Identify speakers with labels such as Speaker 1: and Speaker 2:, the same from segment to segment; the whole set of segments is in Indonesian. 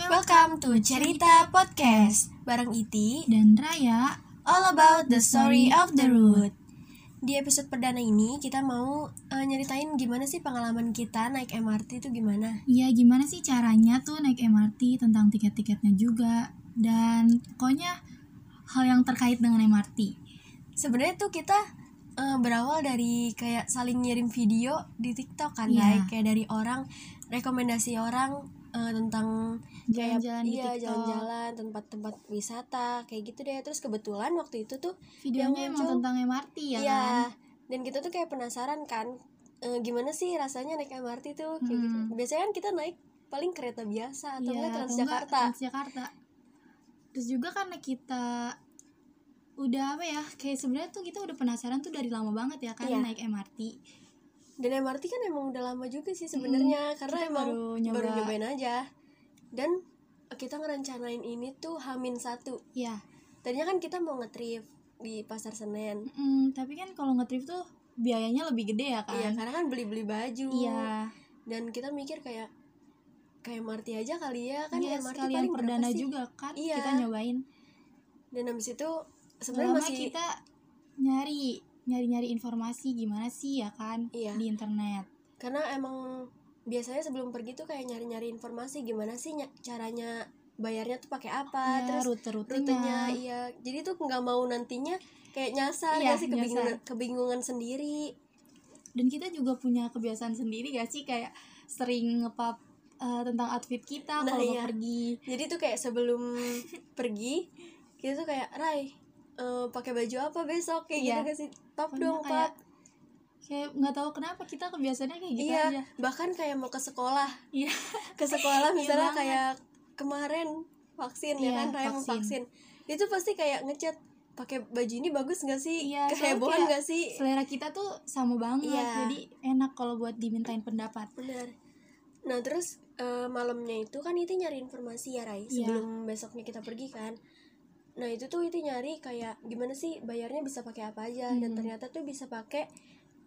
Speaker 1: to Cerita Podcast bareng Iti
Speaker 2: dan Raya.
Speaker 1: All about the story of the road. Di episode perdana ini kita mau eh, nyeritain gimana sih pengalaman kita naik MRT itu gimana.
Speaker 2: Ya gimana sih caranya tuh naik MRT tentang tiket-tiketnya juga dan pokoknya hal yang terkait dengan MRT.
Speaker 1: Sebenarnya tuh kita eh, berawal dari kayak saling ngirim video di TikTok kan,
Speaker 2: Iya.
Speaker 1: Nay? kayak dari orang rekomendasi orang eh, tentang kayak-
Speaker 2: Jalan-jalan di
Speaker 1: iya,
Speaker 2: TikTok.
Speaker 1: jalan-jalan tempat-tempat wisata kayak gitu deh. Terus kebetulan waktu itu tuh
Speaker 2: Videonya
Speaker 1: Yang
Speaker 2: emang
Speaker 1: muncul-
Speaker 2: tentang MRT ya
Speaker 1: Iya.
Speaker 2: kan?
Speaker 1: Dan kita tuh kayak penasaran kan eh, gimana sih rasanya naik MRT tuh kayak gitu.
Speaker 2: Hmm.
Speaker 1: Biasanya kan kita naik paling kereta biasa atau
Speaker 2: Iya,
Speaker 1: enggak
Speaker 2: atau enggak
Speaker 1: Transjakarta.
Speaker 2: Transjakarta. Terus juga karena kita udah apa ya kayak sebenarnya tuh kita udah penasaran tuh dari lama banget ya kan
Speaker 1: Iya.
Speaker 2: naik MRT.
Speaker 1: Dan MRT kan emang udah lama juga sih sebenarnya karena
Speaker 2: Hmm, kita
Speaker 1: emang
Speaker 2: baru
Speaker 1: baru,
Speaker 2: nyoba.
Speaker 1: nyobain aja. Dan kita ngerencanain ini tuh Hamin satu.
Speaker 2: Iya.
Speaker 1: Tadinya kan kita mau nge-trip di Pasar Senen.
Speaker 2: Mm, tapi kan kalau nge-trip tuh biayanya lebih gede ya kan?
Speaker 1: Iya, karena kan beli-beli baju.
Speaker 2: Iya.
Speaker 1: Dan kita mikir kayak kayak MRT aja kali ya kan
Speaker 2: Iya,
Speaker 1: MRT
Speaker 2: sekalian
Speaker 1: paling berapa
Speaker 2: perdana
Speaker 1: sih?
Speaker 2: juga kan
Speaker 1: Iya.
Speaker 2: kita nyobain.
Speaker 1: Dan habis itu sebenarnya
Speaker 2: Sebenarnya
Speaker 1: masih
Speaker 2: kita nyari nyari-nyari informasi gimana sih ya kan
Speaker 1: Iya.
Speaker 2: di internet.
Speaker 1: karena emang biasanya sebelum pergi tuh kayak nyari-nyari informasi gimana sih ny- caranya bayarnya tuh pakai apa
Speaker 2: Ya,
Speaker 1: Ah, terus rutenya
Speaker 2: rute-rutenya.
Speaker 1: iya jadi tuh nggak mau nantinya kayak nyasar
Speaker 2: Iya,
Speaker 1: nggak sih kebingungan kebingungan sendiri
Speaker 2: Dan kita juga punya kebiasaan sendiri gak sih kayak sering ngepap eh, tentang outfit kita
Speaker 1: Nah,
Speaker 2: kalau mau
Speaker 1: iya.
Speaker 2: pergi.
Speaker 1: jadi tuh kayak sebelum pergi kita tuh kayak Rai eh, pakai baju apa besok kayak
Speaker 2: Iya.
Speaker 1: gitu gak sih top
Speaker 2: Pokoknya
Speaker 1: dong
Speaker 2: kayak
Speaker 1: pap
Speaker 2: kayak nggak tahu kenapa kita kebiasaannya kayak gitu
Speaker 1: iya
Speaker 2: aja.
Speaker 1: bahkan kayak mau ke sekolah
Speaker 2: Iya.
Speaker 1: ke sekolah
Speaker 2: Iya
Speaker 1: misalnya
Speaker 2: banget.
Speaker 1: kayak kemarin vaksin
Speaker 2: Iya,
Speaker 1: ya kan Raya mau vaksin
Speaker 2: vaksin.
Speaker 1: itu pasti kayak ngechat pakai baju ini bagus nggak sih
Speaker 2: Iya, soalnya
Speaker 1: kehebohan
Speaker 2: kayak
Speaker 1: nggak sih
Speaker 2: Selera kita tuh sama banget.
Speaker 1: Iya.
Speaker 2: Jadi enak kalau buat dimintain pendapat.
Speaker 1: benar nah terus eh, malamnya itu kan itu nyari informasi ya Rai
Speaker 2: Iya.
Speaker 1: sebelum besoknya kita pergi kan nah itu tuh itu nyari kayak gimana sih bayarnya bisa pakai apa aja dan
Speaker 2: Mhm.
Speaker 1: ternyata tuh bisa pakai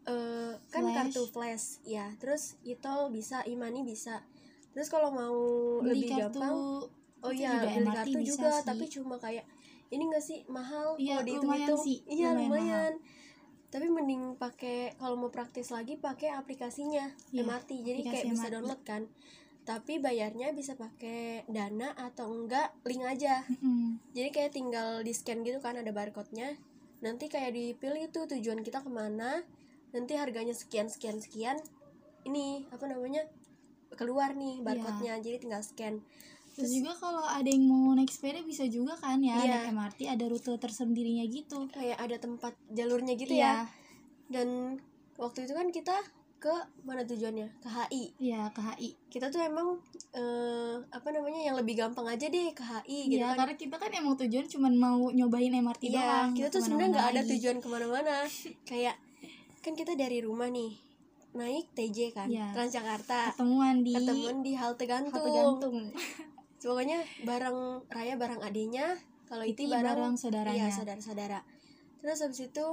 Speaker 1: eh, kan
Speaker 2: Flash.
Speaker 1: kartu flash ya terus e-tol bisa e-money bisa terus kalau mau
Speaker 2: Beli
Speaker 1: lebih
Speaker 2: kartu
Speaker 1: gampang Oh
Speaker 2: itu
Speaker 1: iya,
Speaker 2: juga
Speaker 1: beli
Speaker 2: MRT
Speaker 1: kartu
Speaker 2: bisa
Speaker 1: juga,
Speaker 2: sih.
Speaker 1: tapi cuma kayak ini gak sih mahal
Speaker 2: Iya,
Speaker 1: kalau dihitung-hitung.
Speaker 2: lumayan sih,
Speaker 1: Iya, lumayan.
Speaker 2: lumayan
Speaker 1: Tapi mending pakai kalau mau praktis lagi pakai aplikasinya
Speaker 2: Iya,
Speaker 1: MRT. Jadi
Speaker 2: aplikasi
Speaker 1: kayak bisa
Speaker 2: MRT.
Speaker 1: download kan. Tapi bayarnya bisa pakai Dana atau enggak link aja.
Speaker 2: Mm-mm.
Speaker 1: Jadi kayak tinggal di-scan gitu kan ada barcode-nya. Nanti kayak dipilih tuh tujuan kita kemana. Nanti harganya sekian sekian sekian. Ini apa namanya? keluar nih
Speaker 2: Iya.
Speaker 1: barcode-nya. Jadi tinggal scan.
Speaker 2: Terus juga kalau ada yang mau naik sepeda bisa juga kan ya
Speaker 1: Iya.
Speaker 2: naik MRT ada rute tersendirinya gitu.
Speaker 1: kayak ada tempat jalurnya gitu ya
Speaker 2: Iya,
Speaker 1: dan waktu itu kan kita ke mana tujuannya ke HI
Speaker 2: Iya ke HI.
Speaker 1: kita tuh emang eh, apa namanya yang lebih gampang aja deh ke HI gitu
Speaker 2: Iya
Speaker 1: kan
Speaker 2: karena kita kan emang tujuan cuman mau nyobain MRT
Speaker 1: iya
Speaker 2: doang.
Speaker 1: kita tuh
Speaker 2: kemana-mana
Speaker 1: sebenarnya nggak ada
Speaker 2: lagi.
Speaker 1: tujuan kemana-mana kayak kan kita dari rumah nih naik TJ kan
Speaker 2: Iya.
Speaker 1: Transjakarta
Speaker 2: Ketemuan di
Speaker 1: ketemuan di halte gantung,
Speaker 2: halte gantung.
Speaker 1: pokoknya bareng Raya bareng adenya kalau Oh, itu
Speaker 2: Iti
Speaker 1: bareng
Speaker 2: bareng saudaranya.
Speaker 1: Iya saudara-saudara terus habis itu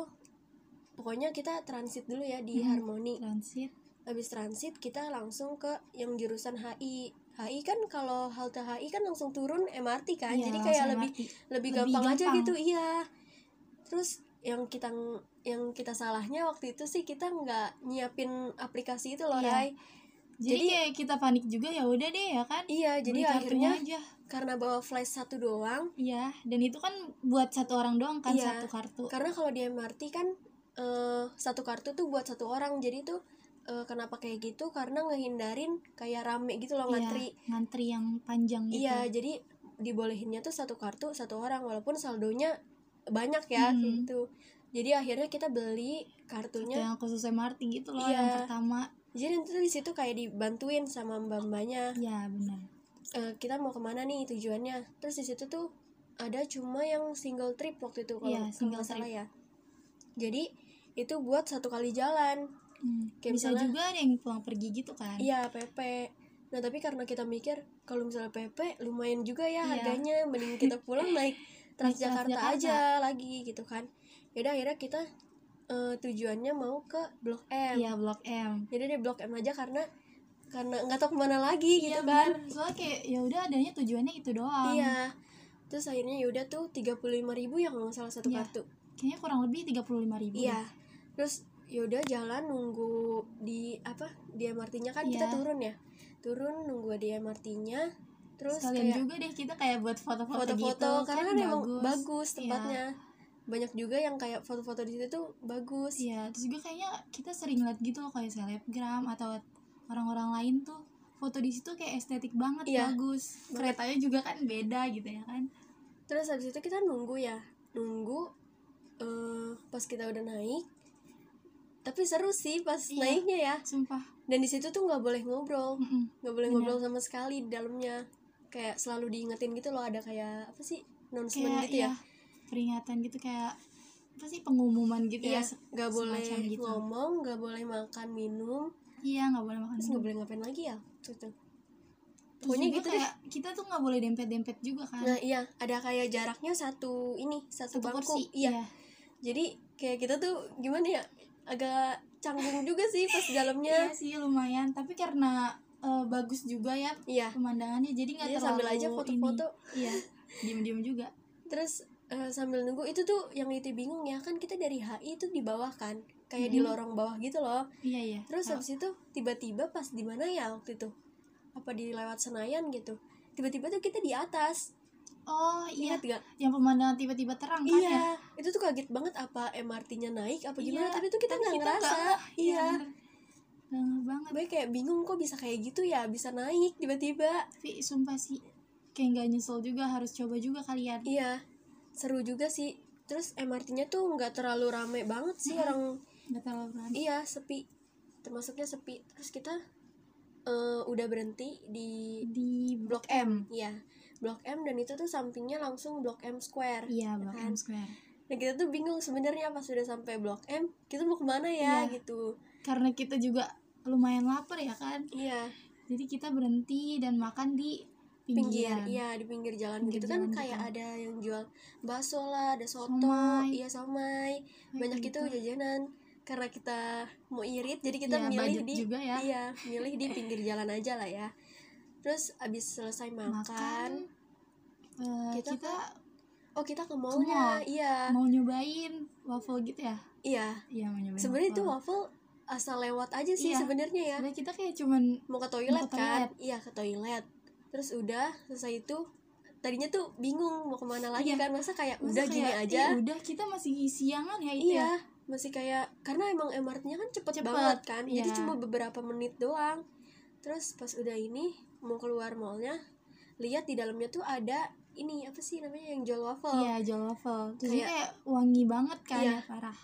Speaker 1: pokoknya kita transit dulu ya di
Speaker 2: Mhm.
Speaker 1: Harmoni
Speaker 2: Transit.
Speaker 1: habis transit kita langsung ke yang jurusan HI HI kan kalau halte HI kan langsung turun MRT kan
Speaker 2: Iya,
Speaker 1: jadi kayak
Speaker 2: langsung
Speaker 1: lebih
Speaker 2: MRT.
Speaker 1: lebih
Speaker 2: Lebih
Speaker 1: gampang, aja
Speaker 2: gampang.
Speaker 1: gitu iya terus yang kita yang kita salahnya waktu itu sih kita nggak nyiapin aplikasi itu loh
Speaker 2: Iya.
Speaker 1: Rai
Speaker 2: Jadi,
Speaker 1: Jadi-
Speaker 2: kayak kita panik juga ya udah deh ya kan.
Speaker 1: iya jadi
Speaker 2: Beli kartunya
Speaker 1: akhirnya
Speaker 2: aja.
Speaker 1: karena bawa flash satu doang
Speaker 2: Iya, dan itu kan buat satu orang doang kan
Speaker 1: Iya.
Speaker 2: satu kartu.
Speaker 1: karena kalau di MRT kan eh, satu kartu tuh buat satu orang jadi tuh eh, kenapa kayak gitu karena ngehindarin kayak rame gitu loh
Speaker 2: Iya,
Speaker 1: ngantri
Speaker 2: ngantri yang panjang gitu.
Speaker 1: Iya, jadi dibolehinnya tuh satu kartu satu orang walaupun saldonya banyak ya
Speaker 2: Hmm.
Speaker 1: gitu. Jadi akhirnya kita beli
Speaker 2: Kartu
Speaker 1: kartunya.
Speaker 2: yang khusus MRT gitu loh
Speaker 1: Iya.
Speaker 2: yang pertama.
Speaker 1: Jadi nanti tuh di situ kayak dibantuin sama mbak-mbaknya.
Speaker 2: Iya, benar.
Speaker 1: Eh, kita mau kemana nih tujuannya? Terus di situ tuh ada cuma yang single trip waktu itu kalau
Speaker 2: Iya,
Speaker 1: kalau
Speaker 2: single
Speaker 1: nggak salah ya. Jadi itu buat satu kali jalan.
Speaker 2: Hmm,
Speaker 1: Kayak
Speaker 2: bisa
Speaker 1: misalnya-
Speaker 2: juga ada yang pulang pergi gitu kan
Speaker 1: Iya PP. Nah tapi karena kita mikir kalau misalnya PP lumayan juga ya
Speaker 2: Iya.
Speaker 1: harganya, mending kita pulang naik Transjakarta
Speaker 2: Transjakarta.
Speaker 1: aja lagi gitu kan. Yaudah akhirnya kita eh, tujuannya mau ke Blok M.
Speaker 2: Iya, blok M
Speaker 1: Jadi di Blok M aja karena karena nggak tahu kemana lagi gitu
Speaker 2: Iya
Speaker 1: kan
Speaker 2: benar. Soalnya kayak ya udah adanya tujuannya itu doang.
Speaker 1: iya terus akhirnya yaudah tuh 35.000 ribu yang nggak salah satu
Speaker 2: Iya.
Speaker 1: kartu
Speaker 2: Kayaknya kurang lebih 35 ribu.
Speaker 1: iya terus yaudah jalan nunggu di apa di MRT-nya kan kita
Speaker 2: Iya.
Speaker 1: turun ya turun nunggu di MRT-nya terus
Speaker 2: Sekalian
Speaker 1: kayak
Speaker 2: juga deh kita kayak buat foto-foto, gitu.
Speaker 1: foto-foto karena kan emang bagus
Speaker 2: Iya.
Speaker 1: tempatnya banyak juga yang kayak foto-foto di situ tuh bagus
Speaker 2: Iya, terus juga kayaknya kita sering lihat gitu loh kayak selebgram atau orang-orang lain tuh foto di situ kayak estetik banget,
Speaker 1: Iya,
Speaker 2: bagus. Keretanya juga kan beda gitu ya kan.
Speaker 1: terus habis itu kita nunggu ya nunggu eh, pas kita udah naik tapi seru sih pas
Speaker 2: Iya.
Speaker 1: naiknya ya
Speaker 2: Sumpah.
Speaker 1: dan di situ tuh nggak boleh ngobrol
Speaker 2: Mm-mm.
Speaker 1: nggak boleh
Speaker 2: Benar.
Speaker 1: ngobrol sama sekali di dalamnya kayak selalu diingetin gitu loh ada kayak apa sih announcement
Speaker 2: Kayak
Speaker 1: gitu
Speaker 2: iya, peringatan gitu kayak apa sih pengumuman
Speaker 1: ya
Speaker 2: gitu
Speaker 1: iya
Speaker 2: ya. se-
Speaker 1: nggak boleh
Speaker 2: semacam gitu.
Speaker 1: ngomong nggak boleh makan minum
Speaker 2: Iya, nggak boleh makan.
Speaker 1: terus
Speaker 2: dulu.
Speaker 1: nggak boleh ngapain lagi ya Tuh, tuh.
Speaker 2: Terus
Speaker 1: pokoknya
Speaker 2: juga
Speaker 1: gitu deh.
Speaker 2: kayak kita tuh nggak boleh dempet-dempet juga kan.
Speaker 1: nah iya ada kayak jaraknya satu ini satu,
Speaker 2: Satu
Speaker 1: bangku
Speaker 2: kursi.
Speaker 1: iya jadi kayak kita tuh gimana ya agak canggung juga sih pas di
Speaker 2: Iya
Speaker 1: dalamnya
Speaker 2: sih lumayan, tapi karena eh, bagus juga ya
Speaker 1: iya
Speaker 2: pemandangannya jadi nggak
Speaker 1: Iya,
Speaker 2: terlalu
Speaker 1: sambil aja
Speaker 2: ini.
Speaker 1: foto-foto.
Speaker 2: Iya, diem-diem juga.
Speaker 1: terus eh, sambil nunggu itu tuh yang itu bingung ya kan kita dari HI itu di bawah kan kayak di
Speaker 2: Mhm.
Speaker 1: lorong bawah gitu loh
Speaker 2: Iya iya.
Speaker 1: Terus
Speaker 2: Kalau-
Speaker 1: habis itu tiba-tiba pas di mana ya waktu itu? Apa di lewat Senayan gitu? Tiba-tiba tuh kita di atas.
Speaker 2: Oh iya,
Speaker 1: Ingat gak?
Speaker 2: yang pemandangan tiba-tiba terang kan ya?
Speaker 1: Iya. Itu tuh kaget banget apa MRT-nya naik apa gimana?
Speaker 2: Iya,
Speaker 1: Tapi tuh kita
Speaker 2: tapi
Speaker 1: nggak
Speaker 2: kita
Speaker 1: ngerasa.
Speaker 2: nggak-
Speaker 1: iya.
Speaker 2: bener. Bener banget.
Speaker 1: Gue kayak bingung kok bisa kayak gitu ya, bisa naik tiba-tiba.
Speaker 2: Tapi sumpah sih kayak nggak nyesel juga harus coba juga ya. kalian.
Speaker 1: Iya. Seru juga sih. Terus MRT-nya tuh nggak terlalu rame banget sih orang
Speaker 2: Nggak terlalu berani.
Speaker 1: iya sepi. Termasuknya sepi. Terus kita eh, udah berhenti di
Speaker 2: Di Blok M.
Speaker 1: Iya, Blok M dan itu tuh sampingnya langsung Blok M Square.
Speaker 2: Iya, Blok
Speaker 1: Kan?
Speaker 2: M Square.
Speaker 1: Nah kita tuh bingung sebenarnya pas sudah sampai Blok M, kita mau kemana ya
Speaker 2: Iya.
Speaker 1: gitu.
Speaker 2: Karena kita juga lumayan lapar ya kan.
Speaker 1: Iya,
Speaker 2: Jadi kita berhenti dan makan di
Speaker 1: pinggir,
Speaker 2: pinggiran.
Speaker 1: iya di pinggir jalan gitu
Speaker 2: Pinggir jalan
Speaker 1: kan kayak
Speaker 2: gitu.
Speaker 1: ada yang jual bakso lah, ada soto,
Speaker 2: Somai.
Speaker 1: iya somai,
Speaker 2: Kayak
Speaker 1: banyak
Speaker 2: gitu.
Speaker 1: itu jajanan. Karena kita mau irit, jadi kita
Speaker 2: Iya,
Speaker 1: milih
Speaker 2: budget
Speaker 1: di,
Speaker 2: juga ya.
Speaker 1: iya milih di pinggir jalan aja lah ya. Terus abis selesai
Speaker 2: Makan.
Speaker 1: makan,
Speaker 2: eh,
Speaker 1: Kita
Speaker 2: kita,
Speaker 1: oh kita ke
Speaker 2: mall.
Speaker 1: mallnya, iya,
Speaker 2: mau nyobain waffle gitu ya?
Speaker 1: iya.
Speaker 2: Iya, mau nyobain.
Speaker 1: sebenarnya itu
Speaker 2: waffle.
Speaker 1: waffle asal lewat aja sih
Speaker 2: Iya.
Speaker 1: sebenarnya ya
Speaker 2: Sebenarnya kita kayak cuman
Speaker 1: mau ke toilet
Speaker 2: Mau ke
Speaker 1: kan
Speaker 2: toilet.
Speaker 1: iya ke toilet terus udah selesai itu tadinya tuh bingung mau kemana lagi
Speaker 2: Iya.
Speaker 1: kan masa kayak
Speaker 2: masa
Speaker 1: udah gini
Speaker 2: kayak,
Speaker 1: aja
Speaker 2: "Ih, udah kita masih siangan ya itu
Speaker 1: iya
Speaker 2: ya.
Speaker 1: masih kayak karena emang MRT-nya kan cepet,
Speaker 2: Cepet,
Speaker 1: banget kan jadi
Speaker 2: iya.
Speaker 1: cuma beberapa menit doang terus pas udah ini mau keluar mallnya lihat di dalamnya tuh ada ini apa sih namanya yang jual waffle
Speaker 2: Iya, jual waffle. Terus
Speaker 1: Kayak-
Speaker 2: kayak, wangi banget kan
Speaker 1: Iya.
Speaker 2: ya, parah.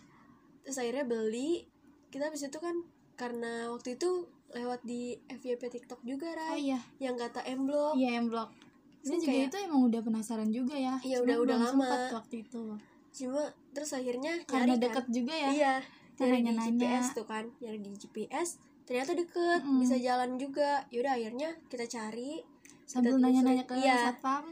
Speaker 1: terus akhirnya beli kita habis itu kan karena waktu itu lewat di FYP TikTok juga Rai
Speaker 2: Oh iya,
Speaker 1: yang kata M Block
Speaker 2: iya yang blok.
Speaker 1: Terus
Speaker 2: Terus juga
Speaker 1: Oh. kayak-
Speaker 2: itu emang udah penasaran juga ya.
Speaker 1: Iya,
Speaker 2: Cuman
Speaker 1: udah- udah
Speaker 2: belum
Speaker 1: lama.
Speaker 2: sempat waktu itu.
Speaker 1: cuma terus akhirnya
Speaker 2: Karena
Speaker 1: nyari
Speaker 2: deket
Speaker 1: kan
Speaker 2: juga ya.
Speaker 1: iya nyari di
Speaker 2: nanya-nanya.
Speaker 1: GPS tuh kan nyari di GPS ternyata deket
Speaker 2: Mm-mm.
Speaker 1: bisa jalan juga yaudah akhirnya kita cari
Speaker 2: Sambil
Speaker 1: Kita
Speaker 2: nanya-nanya ke
Speaker 1: telusuri. Iya.
Speaker 2: satpam.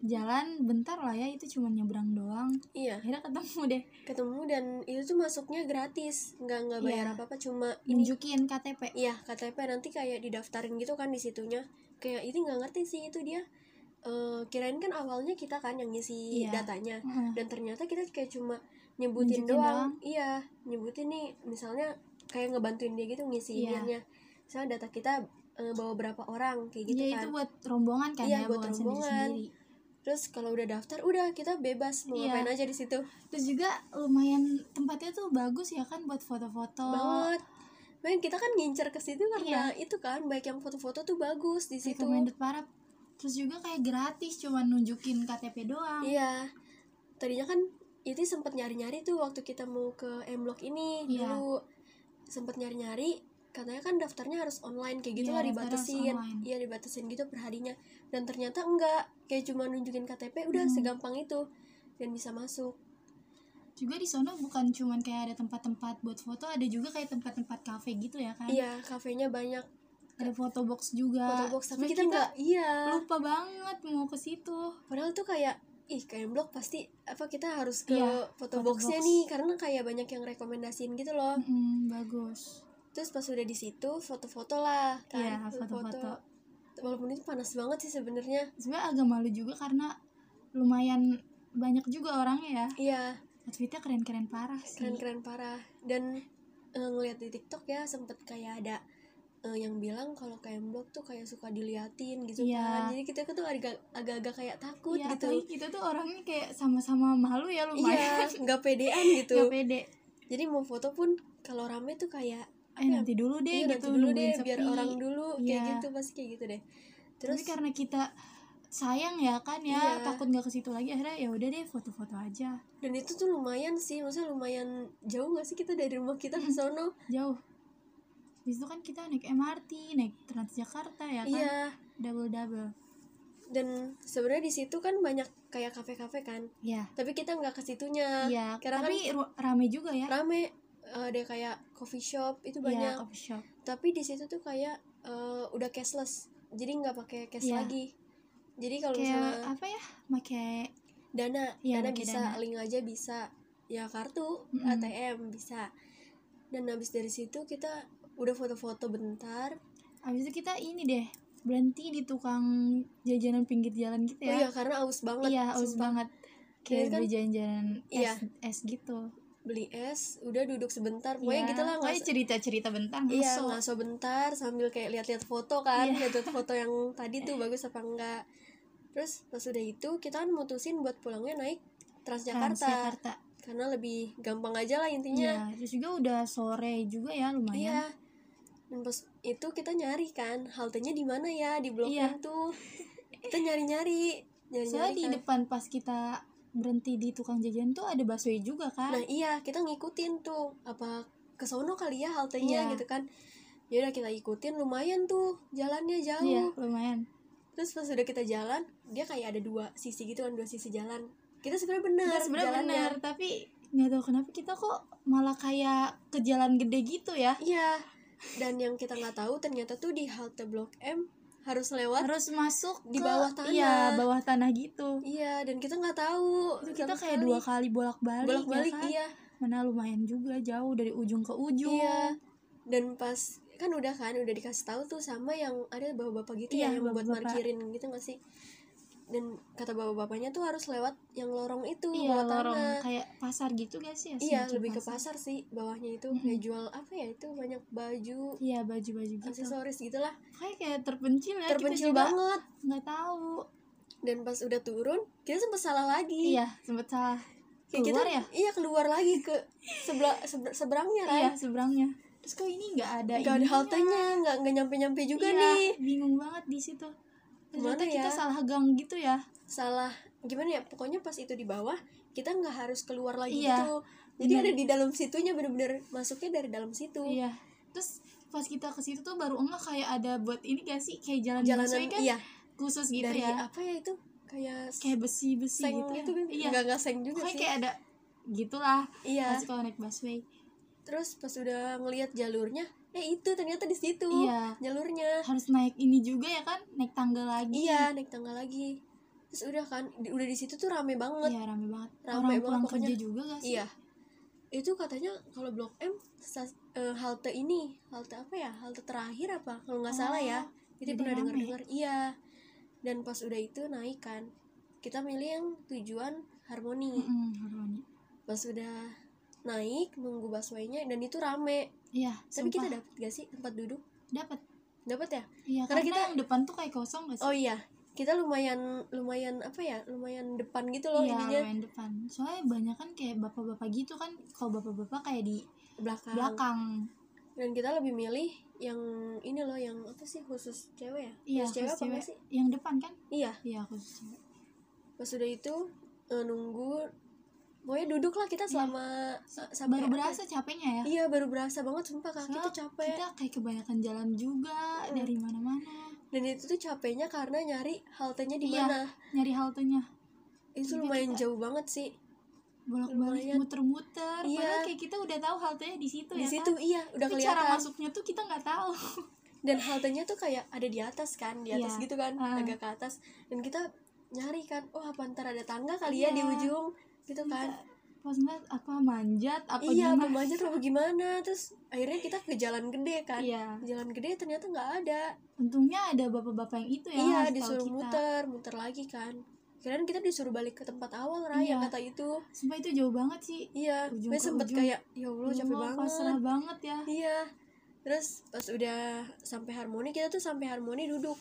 Speaker 2: Jalan bentar lah ya, itu cuma nyebrang doang.
Speaker 1: iya
Speaker 2: Akhirnya ketemu deh,
Speaker 1: ketemu dan itu tuh masuknya gratis nggak nggak bayar
Speaker 2: Iya.
Speaker 1: apa apa cuma ini
Speaker 2: nunjukin KTP.
Speaker 1: iya KTP nanti kayak didaftarin gitu kan di situnya kayak itu nggak ngerti sih itu dia Eh, kirain kan awalnya kita kan yang ngisi
Speaker 2: Iya.
Speaker 1: datanya
Speaker 2: Heeh.
Speaker 1: dan ternyata kita kayak cuma nyebutin
Speaker 2: Nunjukin
Speaker 1: doang. iya nyebutin nih misalnya kayak ngebantuin dia gitu ngisi
Speaker 2: Iya.
Speaker 1: iniannya misalnya data kita eh, bawa berapa orang kayak gitu
Speaker 2: Iya,
Speaker 1: kan
Speaker 2: itu buat rombongan kan
Speaker 1: Iya,
Speaker 2: ya,
Speaker 1: buat
Speaker 2: bukan
Speaker 1: rombongan.
Speaker 2: sendiri-sendiri.
Speaker 1: terus kalau udah daftar udah kita bebas mau
Speaker 2: Iya.
Speaker 1: ngapain aja di situ
Speaker 2: Terus juga lumayan tempatnya tuh bagus ya kan buat foto-foto.
Speaker 1: banget Men, kita kan ngincer ke situ karena itu kan baik yang foto-foto tuh bagus di situ
Speaker 2: Iya. Recommended parah. Terus juga kayak gratis cuman nunjukin KTP doang.
Speaker 1: iya tadinya kan itu sempat nyari-nyari tuh waktu kita mau ke M Block ini
Speaker 2: Iya.
Speaker 1: dulu sempat nyari-nyari katanya kan daftarnya harus online kayak gitu
Speaker 2: Iya,
Speaker 1: lah
Speaker 2: daftarnya harus
Speaker 1: dibatasin
Speaker 2: online.
Speaker 1: iya dibatasin gitu perharinya dan ternyata enggak kayak cuma nunjukin KTP udah
Speaker 2: Hmm.
Speaker 1: segampang itu dan bisa masuk
Speaker 2: Juga di sono bukan cuman kayak ada tempat-tempat buat foto, ada juga kayak tempat-tempat kafe gitu ya kan.
Speaker 1: iya kafenya banyak
Speaker 2: Ada foto box juga.
Speaker 1: foto box tapi
Speaker 2: Terus
Speaker 1: kita enggak iya
Speaker 2: lupa banget mau ke situ.
Speaker 1: padahal tuh kayak ih kayak M Block pasti apa kita harus ke
Speaker 2: Iya,
Speaker 1: foto
Speaker 2: photo
Speaker 1: boxnya
Speaker 2: box.
Speaker 1: nih karena kayak banyak yang rekomendasiin gitu loh
Speaker 2: Mm, bagus.
Speaker 1: terus pas udah di situ foto-foto lah
Speaker 2: Iya,
Speaker 1: kan
Speaker 2: foto-foto.
Speaker 1: walaupun itu panas banget sih sebenarnya
Speaker 2: sebenarnya agak malu juga karena lumayan banyak juga orangnya ya
Speaker 1: iya
Speaker 2: outfitnya keren-keren parah sih
Speaker 1: keren-keren parah dan eh, ngelihat di TikTok ya sempet kayak ada eh, yang bilang kalau kayak blog tuh kayak suka diliatin gitu
Speaker 2: Iya.
Speaker 1: kan jadi kita tuh agak agak-agak kayak takut
Speaker 2: Iya, apalagi
Speaker 1: gitu
Speaker 2: kita tuh orangnya kayak sama-sama malu
Speaker 1: iya
Speaker 2: ya lumayan
Speaker 1: nggak pedean gitu
Speaker 2: Gak pede
Speaker 1: jadi mau foto pun kalau rame tuh kayak
Speaker 2: eh
Speaker 1: ya?
Speaker 2: nanti dulu
Speaker 1: "Iya,
Speaker 2: deh
Speaker 1: nanti
Speaker 2: gitu
Speaker 1: dulu
Speaker 2: nungguin
Speaker 1: deh
Speaker 2: sepi.
Speaker 1: biar orang dulu kayak
Speaker 2: Iya.
Speaker 1: gitu pasti kayak gitu deh
Speaker 2: terus
Speaker 1: terus
Speaker 2: karena kita sayang ya kan ya
Speaker 1: Iya.
Speaker 2: takut nggak ke situ lagi akhirnya ya udah deh foto-foto aja
Speaker 1: dan itu tuh lumayan sih maksudnya lumayan jauh gak sih kita dari rumah kita ke
Speaker 2: Hmm.
Speaker 1: sono
Speaker 2: jauh Habis itu kan kita naik MRT naik Transjakarta ya kan
Speaker 1: iya
Speaker 2: double double
Speaker 1: dan sebenarnya di situ kan banyak kayak kafe-kafe kan
Speaker 2: ya
Speaker 1: tapi kita nggak ke situnya
Speaker 2: iya
Speaker 1: Eh, karena kan
Speaker 2: tapi ru- rame juga ya
Speaker 1: rame eh, ada kayak coffee shop itu
Speaker 2: Iya,
Speaker 1: banyak
Speaker 2: coffee shop
Speaker 1: tapi di situ tuh kayak eh, udah cashless jadi nggak pakai cash
Speaker 2: Iya.
Speaker 1: lagi jadi kalau
Speaker 2: kayak
Speaker 1: misalnya
Speaker 2: apa ya pakai
Speaker 1: dana
Speaker 2: Iya,
Speaker 1: dana
Speaker 2: pakai
Speaker 1: bisa
Speaker 2: dana.
Speaker 1: link aja bisa ya kartu
Speaker 2: Mm-mm.
Speaker 1: ATM bisa dan habis dari situ kita udah foto-foto bentar
Speaker 2: Abis itu kita ini deh berhenti di tukang jajanan pinggir jalan gitu
Speaker 1: oh
Speaker 2: ya.
Speaker 1: iya karena aus banget
Speaker 2: iya, haus
Speaker 1: sumpah.
Speaker 2: banget.
Speaker 1: Iya
Speaker 2: Kayak
Speaker 1: kan?
Speaker 2: beli jajanan es,
Speaker 1: Iya.
Speaker 2: es gitu.
Speaker 1: beli es udah duduk sebentar pokoknya
Speaker 2: Iya.
Speaker 1: gitu lah
Speaker 2: Pokoknya
Speaker 1: ngas-
Speaker 2: cerita-cerita bentar
Speaker 1: Iya,
Speaker 2: ngaso.
Speaker 1: ngaso bentar sambil kayak lihat-lihat foto kan,
Speaker 2: Iya.
Speaker 1: lihat foto yang tadi tuh bagus apa enggak. Terus pas udah itu kita kan mutusin buat pulangnya naik Transjakarta,
Speaker 2: Transjakarta.
Speaker 1: karena lebih gampang aja lah intinya.
Speaker 2: Iya, terus juga udah sore juga ya lumayan.
Speaker 1: Iya. Dan pas itu kita nyari kan haltenya di mana ya di Blok
Speaker 2: Iya.
Speaker 1: M tuh. Kita nyari-nyari,
Speaker 2: Soalnya
Speaker 1: nyari-nyari.
Speaker 2: di
Speaker 1: kan.
Speaker 2: depan pas kita berhenti di tukang jajan tuh ada busway juga kan.
Speaker 1: Nah, iya, kita ngikutin tuh apa ke sono kali ya haltenya
Speaker 2: Iya.
Speaker 1: gitu kan. Ya udah kita ikutin lumayan tuh jalannya jauh.
Speaker 2: Iya, lumayan.
Speaker 1: terus pas udah kita jalan dia kayak ada dua sisi gitu kan dua sisi jalan kita sebenarnya benar
Speaker 2: Kita sebenarnya
Speaker 1: jalannya.
Speaker 2: benar, tapi nggak tahu kenapa kita kok malah kayak ke jalan gede gitu ya.
Speaker 1: iya dan yang kita nggak tahu ternyata tuh di halte blok M harus lewat
Speaker 2: harus masuk
Speaker 1: Di
Speaker 2: ke-
Speaker 1: bawah tanah.
Speaker 2: iya bawah tanah gitu
Speaker 1: iya dan kita nggak tahu
Speaker 2: itu kita kayak dua kali bolak balik
Speaker 1: bolak balik
Speaker 2: ya kan?
Speaker 1: iya
Speaker 2: mana lumayan juga jauh dari ujung ke ujung
Speaker 1: iya dan pas kan udah kan udah dikasih tahu tuh sama yang ada bapak-bapak gitu
Speaker 2: Iya,
Speaker 1: ya yang buat
Speaker 2: bapak-bapak.
Speaker 1: markirin gitu nggak sih dan kata bapak-bapaknya tuh harus lewat yang lorong itu
Speaker 2: Iya,
Speaker 1: bawah
Speaker 2: lorong
Speaker 1: tanah
Speaker 2: kayak pasar gitu gak sih ya,
Speaker 1: iya
Speaker 2: semacam
Speaker 1: lebih ke pasar sih bawahnya itu kayak jual apa ya itu banyak baju
Speaker 2: iya baju baju gitu
Speaker 1: aksesoris gitulah
Speaker 2: kayak kayak terpencil ya
Speaker 1: terpencil
Speaker 2: kita juga
Speaker 1: banget
Speaker 2: nggak tahu
Speaker 1: dan pas udah turun kita sempet salah lagi
Speaker 2: iya sempet salah
Speaker 1: Kayak kita-
Speaker 2: keluar ya
Speaker 1: iya keluar lagi ke sebelah seber- seberangnya Ray.
Speaker 2: iya seberangnya terus kok ini nggak ada
Speaker 1: nggak ada
Speaker 2: ininya?
Speaker 1: haltenya nggak nggak nyampe nyampe juga
Speaker 2: Iya,
Speaker 1: nih
Speaker 2: bingung banget di situ ternyata
Speaker 1: Gimana
Speaker 2: kita
Speaker 1: ya?
Speaker 2: salah gang gitu ya
Speaker 1: salah gimana ya pokoknya pas itu di bawah kita nggak harus keluar lagi
Speaker 2: Iya,
Speaker 1: gitu jadi
Speaker 2: bener.
Speaker 1: ada di dalam situnya bener-bener masuknya dari dalam situ
Speaker 2: Iya. Terus pas kita ke situ tuh baru enggak kayak ada buat ini gak sih kayak jalan busway
Speaker 1: jalanan
Speaker 2: kan
Speaker 1: iya
Speaker 2: khusus gitu
Speaker 1: dari
Speaker 2: ya.
Speaker 1: apa ya itu kayak
Speaker 2: Kayak besi-besi
Speaker 1: seng
Speaker 2: gitu. ya.
Speaker 1: itu kan
Speaker 2: Iya.
Speaker 1: nggak nggak seng juga
Speaker 2: Pokoknya
Speaker 1: sih
Speaker 2: kayak ada gitulah
Speaker 1: iya
Speaker 2: pas kalau naik busway.
Speaker 1: terus pas udah ngelihat jalurnya eh itu ternyata di situ
Speaker 2: Iya.
Speaker 1: jalurnya
Speaker 2: Harus naik ini juga ya kan, naik tangga lagi.
Speaker 1: Iya, naik tangga lagi. Terus udah kan, di- udah di situ tuh rame banget.
Speaker 2: Iya, rame banget.
Speaker 1: Rame
Speaker 2: Orang
Speaker 1: banget
Speaker 2: pulang
Speaker 1: pokoknya.
Speaker 2: kerja juga gak sih?
Speaker 1: Iya. Itu katanya kalau Blok M stas- eh, halte ini, halte apa ya? Halte terakhir apa? Kalau nggak salah ya.
Speaker 2: Oh,
Speaker 1: Jadi
Speaker 2: jadi
Speaker 1: pernah
Speaker 2: rame.
Speaker 1: dengar-dengar. Iya. Dan pas udah itu naik kan, kita milih yang tujuan harmoni.
Speaker 2: Mm-mm, Harmoni.
Speaker 1: Pas udah naik nunggu busway-nya dan itu rame.
Speaker 2: Iya,
Speaker 1: Tapi kita
Speaker 2: sumpah.
Speaker 1: dapat gak sih tempat duduk?
Speaker 2: dapat.
Speaker 1: Dapat ya?
Speaker 2: Iya,
Speaker 1: Karena
Speaker 2: karena,
Speaker 1: kita-
Speaker 2: yang depan tuh kayak kosong gak sih?
Speaker 1: Oh iya, kita lumayan lumayan apa ya? Lumayan depan gitu loh
Speaker 2: Iya,
Speaker 1: ininya.
Speaker 2: lumayan depan. Soalnya banyak kan kayak bapak-bapak gitu kan, kalau bapak-bapak kayak di belakang.
Speaker 1: dan kita lebih milih yang ini loh yang apa sih khusus cewek ya
Speaker 2: Iya,
Speaker 1: khusus cewek
Speaker 2: khusus
Speaker 1: apa enggak
Speaker 2: cewek.
Speaker 1: sih
Speaker 2: Yang depan kan?
Speaker 1: iya
Speaker 2: Iya, khusus cewek.
Speaker 1: pas udah itu eh, nunggu pokoknya duduk lah kita selama eh, sampai
Speaker 2: Iya. baru
Speaker 1: apa
Speaker 2: berasa capeknya ya
Speaker 1: ya? iya baru berasa banget sumpah kaki
Speaker 2: Soalnya
Speaker 1: tuh capek
Speaker 2: kita kayak kebanyakan jalan juga
Speaker 1: Mm.
Speaker 2: dari mana-mana
Speaker 1: dan itu tuh capeknya karena nyari haltenya di
Speaker 2: Iya.
Speaker 1: mana
Speaker 2: nyari haltenya
Speaker 1: itu
Speaker 2: Juga
Speaker 1: lumayan
Speaker 2: kita-
Speaker 1: jauh banget sih
Speaker 2: bolak-balik
Speaker 1: Lumayan.
Speaker 2: muter-muter
Speaker 1: Iya.
Speaker 2: padahal kayak kita udah tahu haltenya di situ
Speaker 1: di
Speaker 2: ya
Speaker 1: situ
Speaker 2: kan
Speaker 1: iya udah
Speaker 2: Tapi cara
Speaker 1: kelihatan
Speaker 2: masuknya tuh kita nggak tahu
Speaker 1: dan haltenya tuh kayak ada di atas kan di atas
Speaker 2: Iya.
Speaker 1: gitu kan
Speaker 2: Ah.
Speaker 1: agak ke atas dan kita nyari kan oh apa ntar ada tangga kali ya di
Speaker 2: Iya.
Speaker 1: ujung gitu kan
Speaker 2: Posnet apa manjat apa
Speaker 1: iya
Speaker 2: gimana?
Speaker 1: belum aja apa gimana terus akhirnya kita ke jalan gede kan
Speaker 2: Iya.
Speaker 1: Ke jalan gede ternyata nggak ada
Speaker 2: Untungnya ada bapak-bapak yang itu ya.
Speaker 1: iya
Speaker 2: ngasih tahu
Speaker 1: disuruh
Speaker 2: kita.
Speaker 1: muter muter lagi kan kirain kita disuruh balik ke tempat awal Ray
Speaker 2: Iya.
Speaker 1: yang kata itu
Speaker 2: Sumpah itu jauh banget sih.
Speaker 1: iya
Speaker 2: Ujung
Speaker 1: gue
Speaker 2: ke
Speaker 1: sempet
Speaker 2: ujung.
Speaker 1: kayak ya allah
Speaker 2: Ya
Speaker 1: capek
Speaker 2: Allah,
Speaker 1: banget
Speaker 2: Pasrah banget ya.
Speaker 1: iya terus pas udah sampai harmoni kita tuh sampai harmoni duduk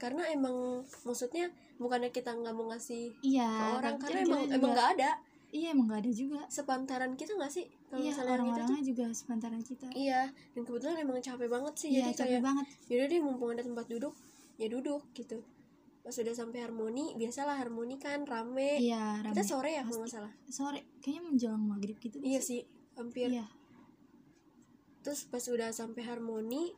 Speaker 1: karena emang maksudnya bukannya kita nggak mau ngasih
Speaker 2: Iya.
Speaker 1: ke orang
Speaker 2: tapi
Speaker 1: karena
Speaker 2: kita
Speaker 1: emang
Speaker 2: juga-
Speaker 1: emang nggak ada
Speaker 2: Iya emang nggak ada juga.
Speaker 1: sepantaran kita nggak sih kalau misalnya
Speaker 2: Iya
Speaker 1: gitu tuh
Speaker 2: orang-orangnya juga sepantaran kita.
Speaker 1: iya dan kebetulan emang capek banget sih
Speaker 2: Iya
Speaker 1: jadi
Speaker 2: capek
Speaker 1: kayak
Speaker 2: banget.
Speaker 1: yaudah deh mumpung ada tempat duduk ya duduk gitu pas udah sampai harmoni biasalah harmoni kan rame
Speaker 2: Iya.
Speaker 1: kita
Speaker 2: ramai.
Speaker 1: sore ya kalau nggak
Speaker 2: Pasti.
Speaker 1: salah
Speaker 2: Sore kayaknya menjelang maghrib gitu. nggak
Speaker 1: iya sih
Speaker 2: sih?
Speaker 1: hampir
Speaker 2: Iya.
Speaker 1: terus pas udah sampai harmoni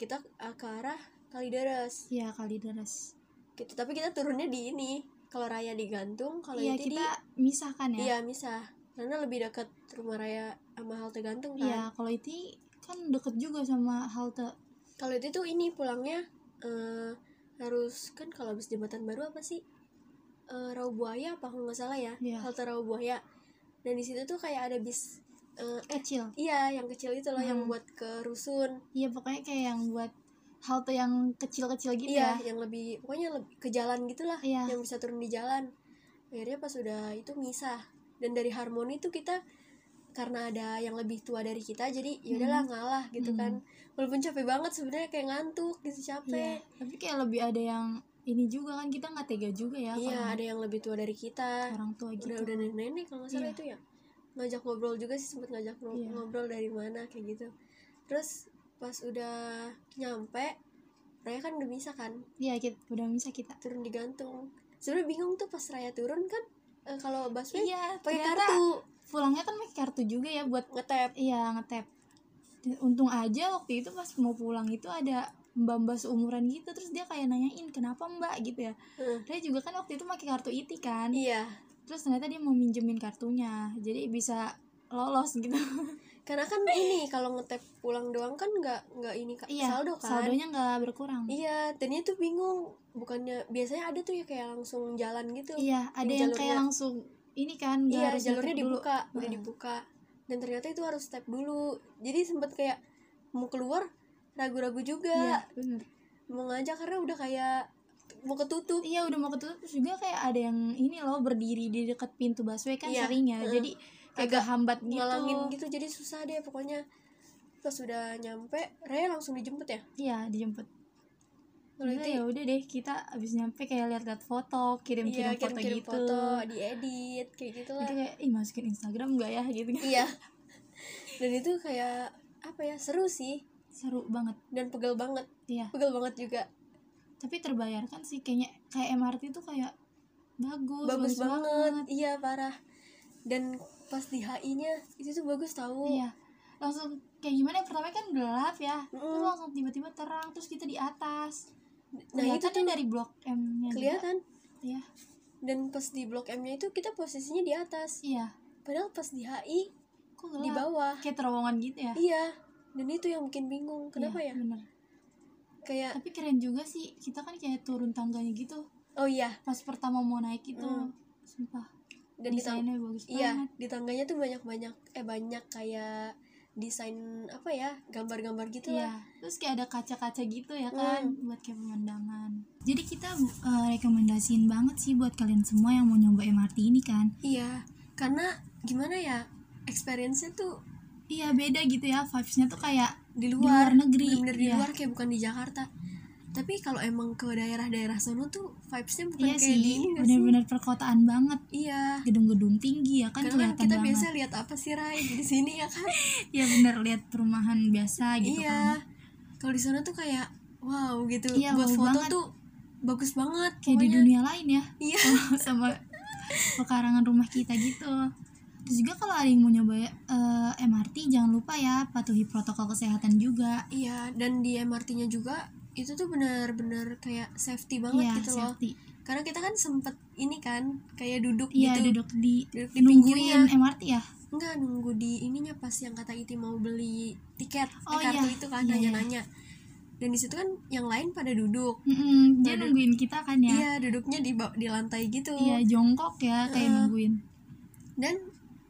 Speaker 1: kita eh, ke arah Kalideres
Speaker 2: Iya kali deras.
Speaker 1: gitu tapi kita turunnya di ini kalau raya digantung kalau
Speaker 2: Iya
Speaker 1: itu
Speaker 2: kita
Speaker 1: di
Speaker 2: misahkan ya.
Speaker 1: iya misah karena lebih dekat rumah raya sama halte gantung kan
Speaker 2: Iya kalau itu kan deket juga sama halte.
Speaker 1: kalau itu tuh ini pulangnya eh, harus kan kalau habis jembatan baru apa sih Eh rawa buaya apa kalau nggak salah ya
Speaker 2: Iya.
Speaker 1: halte rawa buaya dan di situ tuh kayak ada bis eh, eh,
Speaker 2: Kecil.
Speaker 1: iya yang kecil itu loh yang
Speaker 2: Hmm.
Speaker 1: buat ke rusun
Speaker 2: Iya pokoknya kayak yang buat halte yang kecil-kecil gitu
Speaker 1: iya
Speaker 2: ya.
Speaker 1: yang lebih pokoknya lebih ke jalan gitulah
Speaker 2: Iya.
Speaker 1: yang bisa turun di jalan akhirnya pas udah itu misah dan dari harmoni tuh kita karena ada yang lebih tua dari kita jadi ya udahlah ngalah gitu
Speaker 2: Hmm.
Speaker 1: kan walaupun capek banget sebenarnya kayak ngantuk gitu capek
Speaker 2: Iya. Tapi kayak lebih ada yang ini juga kan kita nggak tega juga ya.
Speaker 1: Iya,
Speaker 2: kalau
Speaker 1: ada yang lebih tua dari kita.
Speaker 2: orang tua gitu.
Speaker 1: Udah udah nenek-nenek kalau nggak salah
Speaker 2: Iya.
Speaker 1: itu ya. Ngajak ngobrol juga sih sempet ngajak ngro-
Speaker 2: Iya.
Speaker 1: ngobrol dari mana kayak gitu. Terus pas udah nyampe, Raya kan udah bisa kan
Speaker 2: Iya kita udah bisa kita.
Speaker 1: turun digantung. Sebenarnya bingung tuh pas Raya turun kan eh, kalau busway
Speaker 2: Iya
Speaker 1: pakai
Speaker 2: ternyata
Speaker 1: kartu
Speaker 2: Pulangnya kan pakai kartu juga ya buat
Speaker 1: ngetap.
Speaker 2: iya ngetap. Dan Untung aja waktu itu pas mau pulang itu ada mbak-mbak seumuran gitu terus dia kayak nanyain kenapa mbak gitu ya.
Speaker 1: Heeh.
Speaker 2: Dia juga kan waktu itu pakai kartu iti kan.
Speaker 1: Iya,
Speaker 2: Terus ternyata dia mau minjemin kartunya jadi bisa lolos gitu.
Speaker 1: karena kan ini kalau ngetap pulang doang kan nggak nggak ini Kak,
Speaker 2: iya.
Speaker 1: saldo kan.
Speaker 2: Saldonya nggak berkurang.
Speaker 1: Iya, dan itu bingung. Bukannya biasanya ada tuh ya kayak langsung jalan gitu.
Speaker 2: Iya, ada yang kayak
Speaker 1: jalurnya-
Speaker 2: langsung ini kan nggak
Speaker 1: iya
Speaker 2: harus
Speaker 1: jalurnya
Speaker 2: nyetir dulu. Hmm.
Speaker 1: dibuka udah
Speaker 2: Heeh.
Speaker 1: dibuka dan ternyata itu harus step dulu jadi sempet kayak mau keluar ragu-ragu
Speaker 2: Iya,
Speaker 1: juga
Speaker 2: bener.
Speaker 1: mau ngajak karena udah kayak mau ketutup
Speaker 2: Iya, udah mau ketutup terus juga kayak ada yang ini loh berdiri di dekat pintu busway kan
Speaker 1: Iya,
Speaker 2: sering ya.
Speaker 1: heeh.
Speaker 2: Jadi
Speaker 1: Agak
Speaker 2: agak hambat gitu.
Speaker 1: ngalangin gitu jadi susah deh pokoknya pas udah nyampe Raya langsung dijemput ya
Speaker 2: Iya, dijemput.
Speaker 1: kalau
Speaker 2: Udah
Speaker 1: itu
Speaker 2: ya udah deh, kita abis nyampe kayak lihat-lihat foto,
Speaker 1: iya
Speaker 2: kirim-kirim foto
Speaker 1: kirim-kirim
Speaker 2: gitu.
Speaker 1: foto, diedit kayak gitu lah
Speaker 2: Itu kayak ih masukin Instagram gak ya gitu kan.
Speaker 1: iya dan itu kayak apa ya seru sih
Speaker 2: Seru banget.
Speaker 1: dan pegel banget
Speaker 2: Iya.
Speaker 1: pegel banget juga
Speaker 2: Tapi terbayarkan sih kayaknya kayak MRT tuh kayak Oh, bagus,
Speaker 1: bagus banget. iya parah dan pas di HI nya itu tuh bagus tahu
Speaker 2: Iya. Langsung kayak gimana? ya, Pertama kan gelap ya. Terus
Speaker 1: Mm.
Speaker 2: langsung tiba-tiba terang terus kita di atas.
Speaker 1: nah itu
Speaker 2: tuh dari blok M-nya. juga.
Speaker 1: kelihatan
Speaker 2: Iya.
Speaker 1: dan pas di blok M nya itu kita posisinya di atas
Speaker 2: Iya.
Speaker 1: padahal pas di HI
Speaker 2: Kok gelap?
Speaker 1: di bawah
Speaker 2: Kayak terowongan gitu ya.
Speaker 1: iya dan itu yang bikin bingung kenapa ya
Speaker 2: Iya, Bener.
Speaker 1: kayak
Speaker 2: Tapi keren juga sih. Kita kan kayak turun tangganya gitu.
Speaker 1: oh iya
Speaker 2: Pas pertama mau naik itu
Speaker 1: Mm.
Speaker 2: sumpah
Speaker 1: dan di tang-
Speaker 2: desainnya bagus
Speaker 1: iya
Speaker 2: banget.
Speaker 1: di tangganya tuh banyak banyak eh banyak kayak desain apa ya gambar-gambar gitu
Speaker 2: Iya,
Speaker 1: lah
Speaker 2: terus kayak ada kaca-kaca gitu ya kan
Speaker 1: Mm.
Speaker 2: buat kayak pemandangan. Jadi kita eh, rekomendasiin banget sih buat kalian semua yang mau nyoba MRT ini kan.
Speaker 1: iya karena gimana ya experience-nya tuh
Speaker 2: Iya beda gitu ya vibesnya tuh kayak
Speaker 1: di
Speaker 2: Di
Speaker 1: luar,
Speaker 2: luar negeri,
Speaker 1: bener-bener di
Speaker 2: iya.
Speaker 1: luar kayak bukan di Jakarta tapi kalau emang ke daerah-daerah sono tuh vibesnya bukan
Speaker 2: iya
Speaker 1: kayak
Speaker 2: sih
Speaker 1: di ini nggak sih?
Speaker 2: bener-bener perkotaan banget
Speaker 1: iya
Speaker 2: gedung-gedung tinggi ya
Speaker 1: karena
Speaker 2: kan
Speaker 1: kan
Speaker 2: kelihatan
Speaker 1: kita
Speaker 2: banget.
Speaker 1: biasa lihat apa sih Rai di sini ya kan
Speaker 2: Iya bener lihat perumahan biasa gitu kan.
Speaker 1: iya kalau di sana tuh kayak wow gitu
Speaker 2: Iya,
Speaker 1: buat
Speaker 2: wow
Speaker 1: foto
Speaker 2: banget.
Speaker 1: tuh bagus banget
Speaker 2: Kayak di
Speaker 1: pokoknya.
Speaker 2: dunia lain ya.
Speaker 1: iya
Speaker 2: sama pekarangan rumah kita gitu. Terus juga kalau ada yang mau nyoba eh, MRT jangan lupa ya patuhi protokol kesehatan juga.
Speaker 1: iya dan di MRT-nya juga itu tuh bener-bener kayak safety banget
Speaker 2: Iya,
Speaker 1: gitu loh
Speaker 2: safety.
Speaker 1: karena kita kan sempet ini kan kayak duduk
Speaker 2: Iya
Speaker 1: gitu
Speaker 2: duduk di
Speaker 1: duduk di pinggirnya
Speaker 2: nungguin MRT ya.
Speaker 1: Enggak nunggu di ininya pas yang kata Iti mau beli tiket eh,
Speaker 2: Oh,
Speaker 1: kartu
Speaker 2: iya.
Speaker 1: itu kan
Speaker 2: Iya, iya.
Speaker 1: nanya-nanya. Dan di situ kan yang lain pada duduk. Iya,
Speaker 2: Mm-mm, dia
Speaker 1: Duduk.
Speaker 2: nungguin kita kan ya.
Speaker 1: Iya, duduknya di ba- di lantai gitu.
Speaker 2: Iya jongkok ya kayak
Speaker 1: Heeh.
Speaker 2: nungguin.
Speaker 1: Dan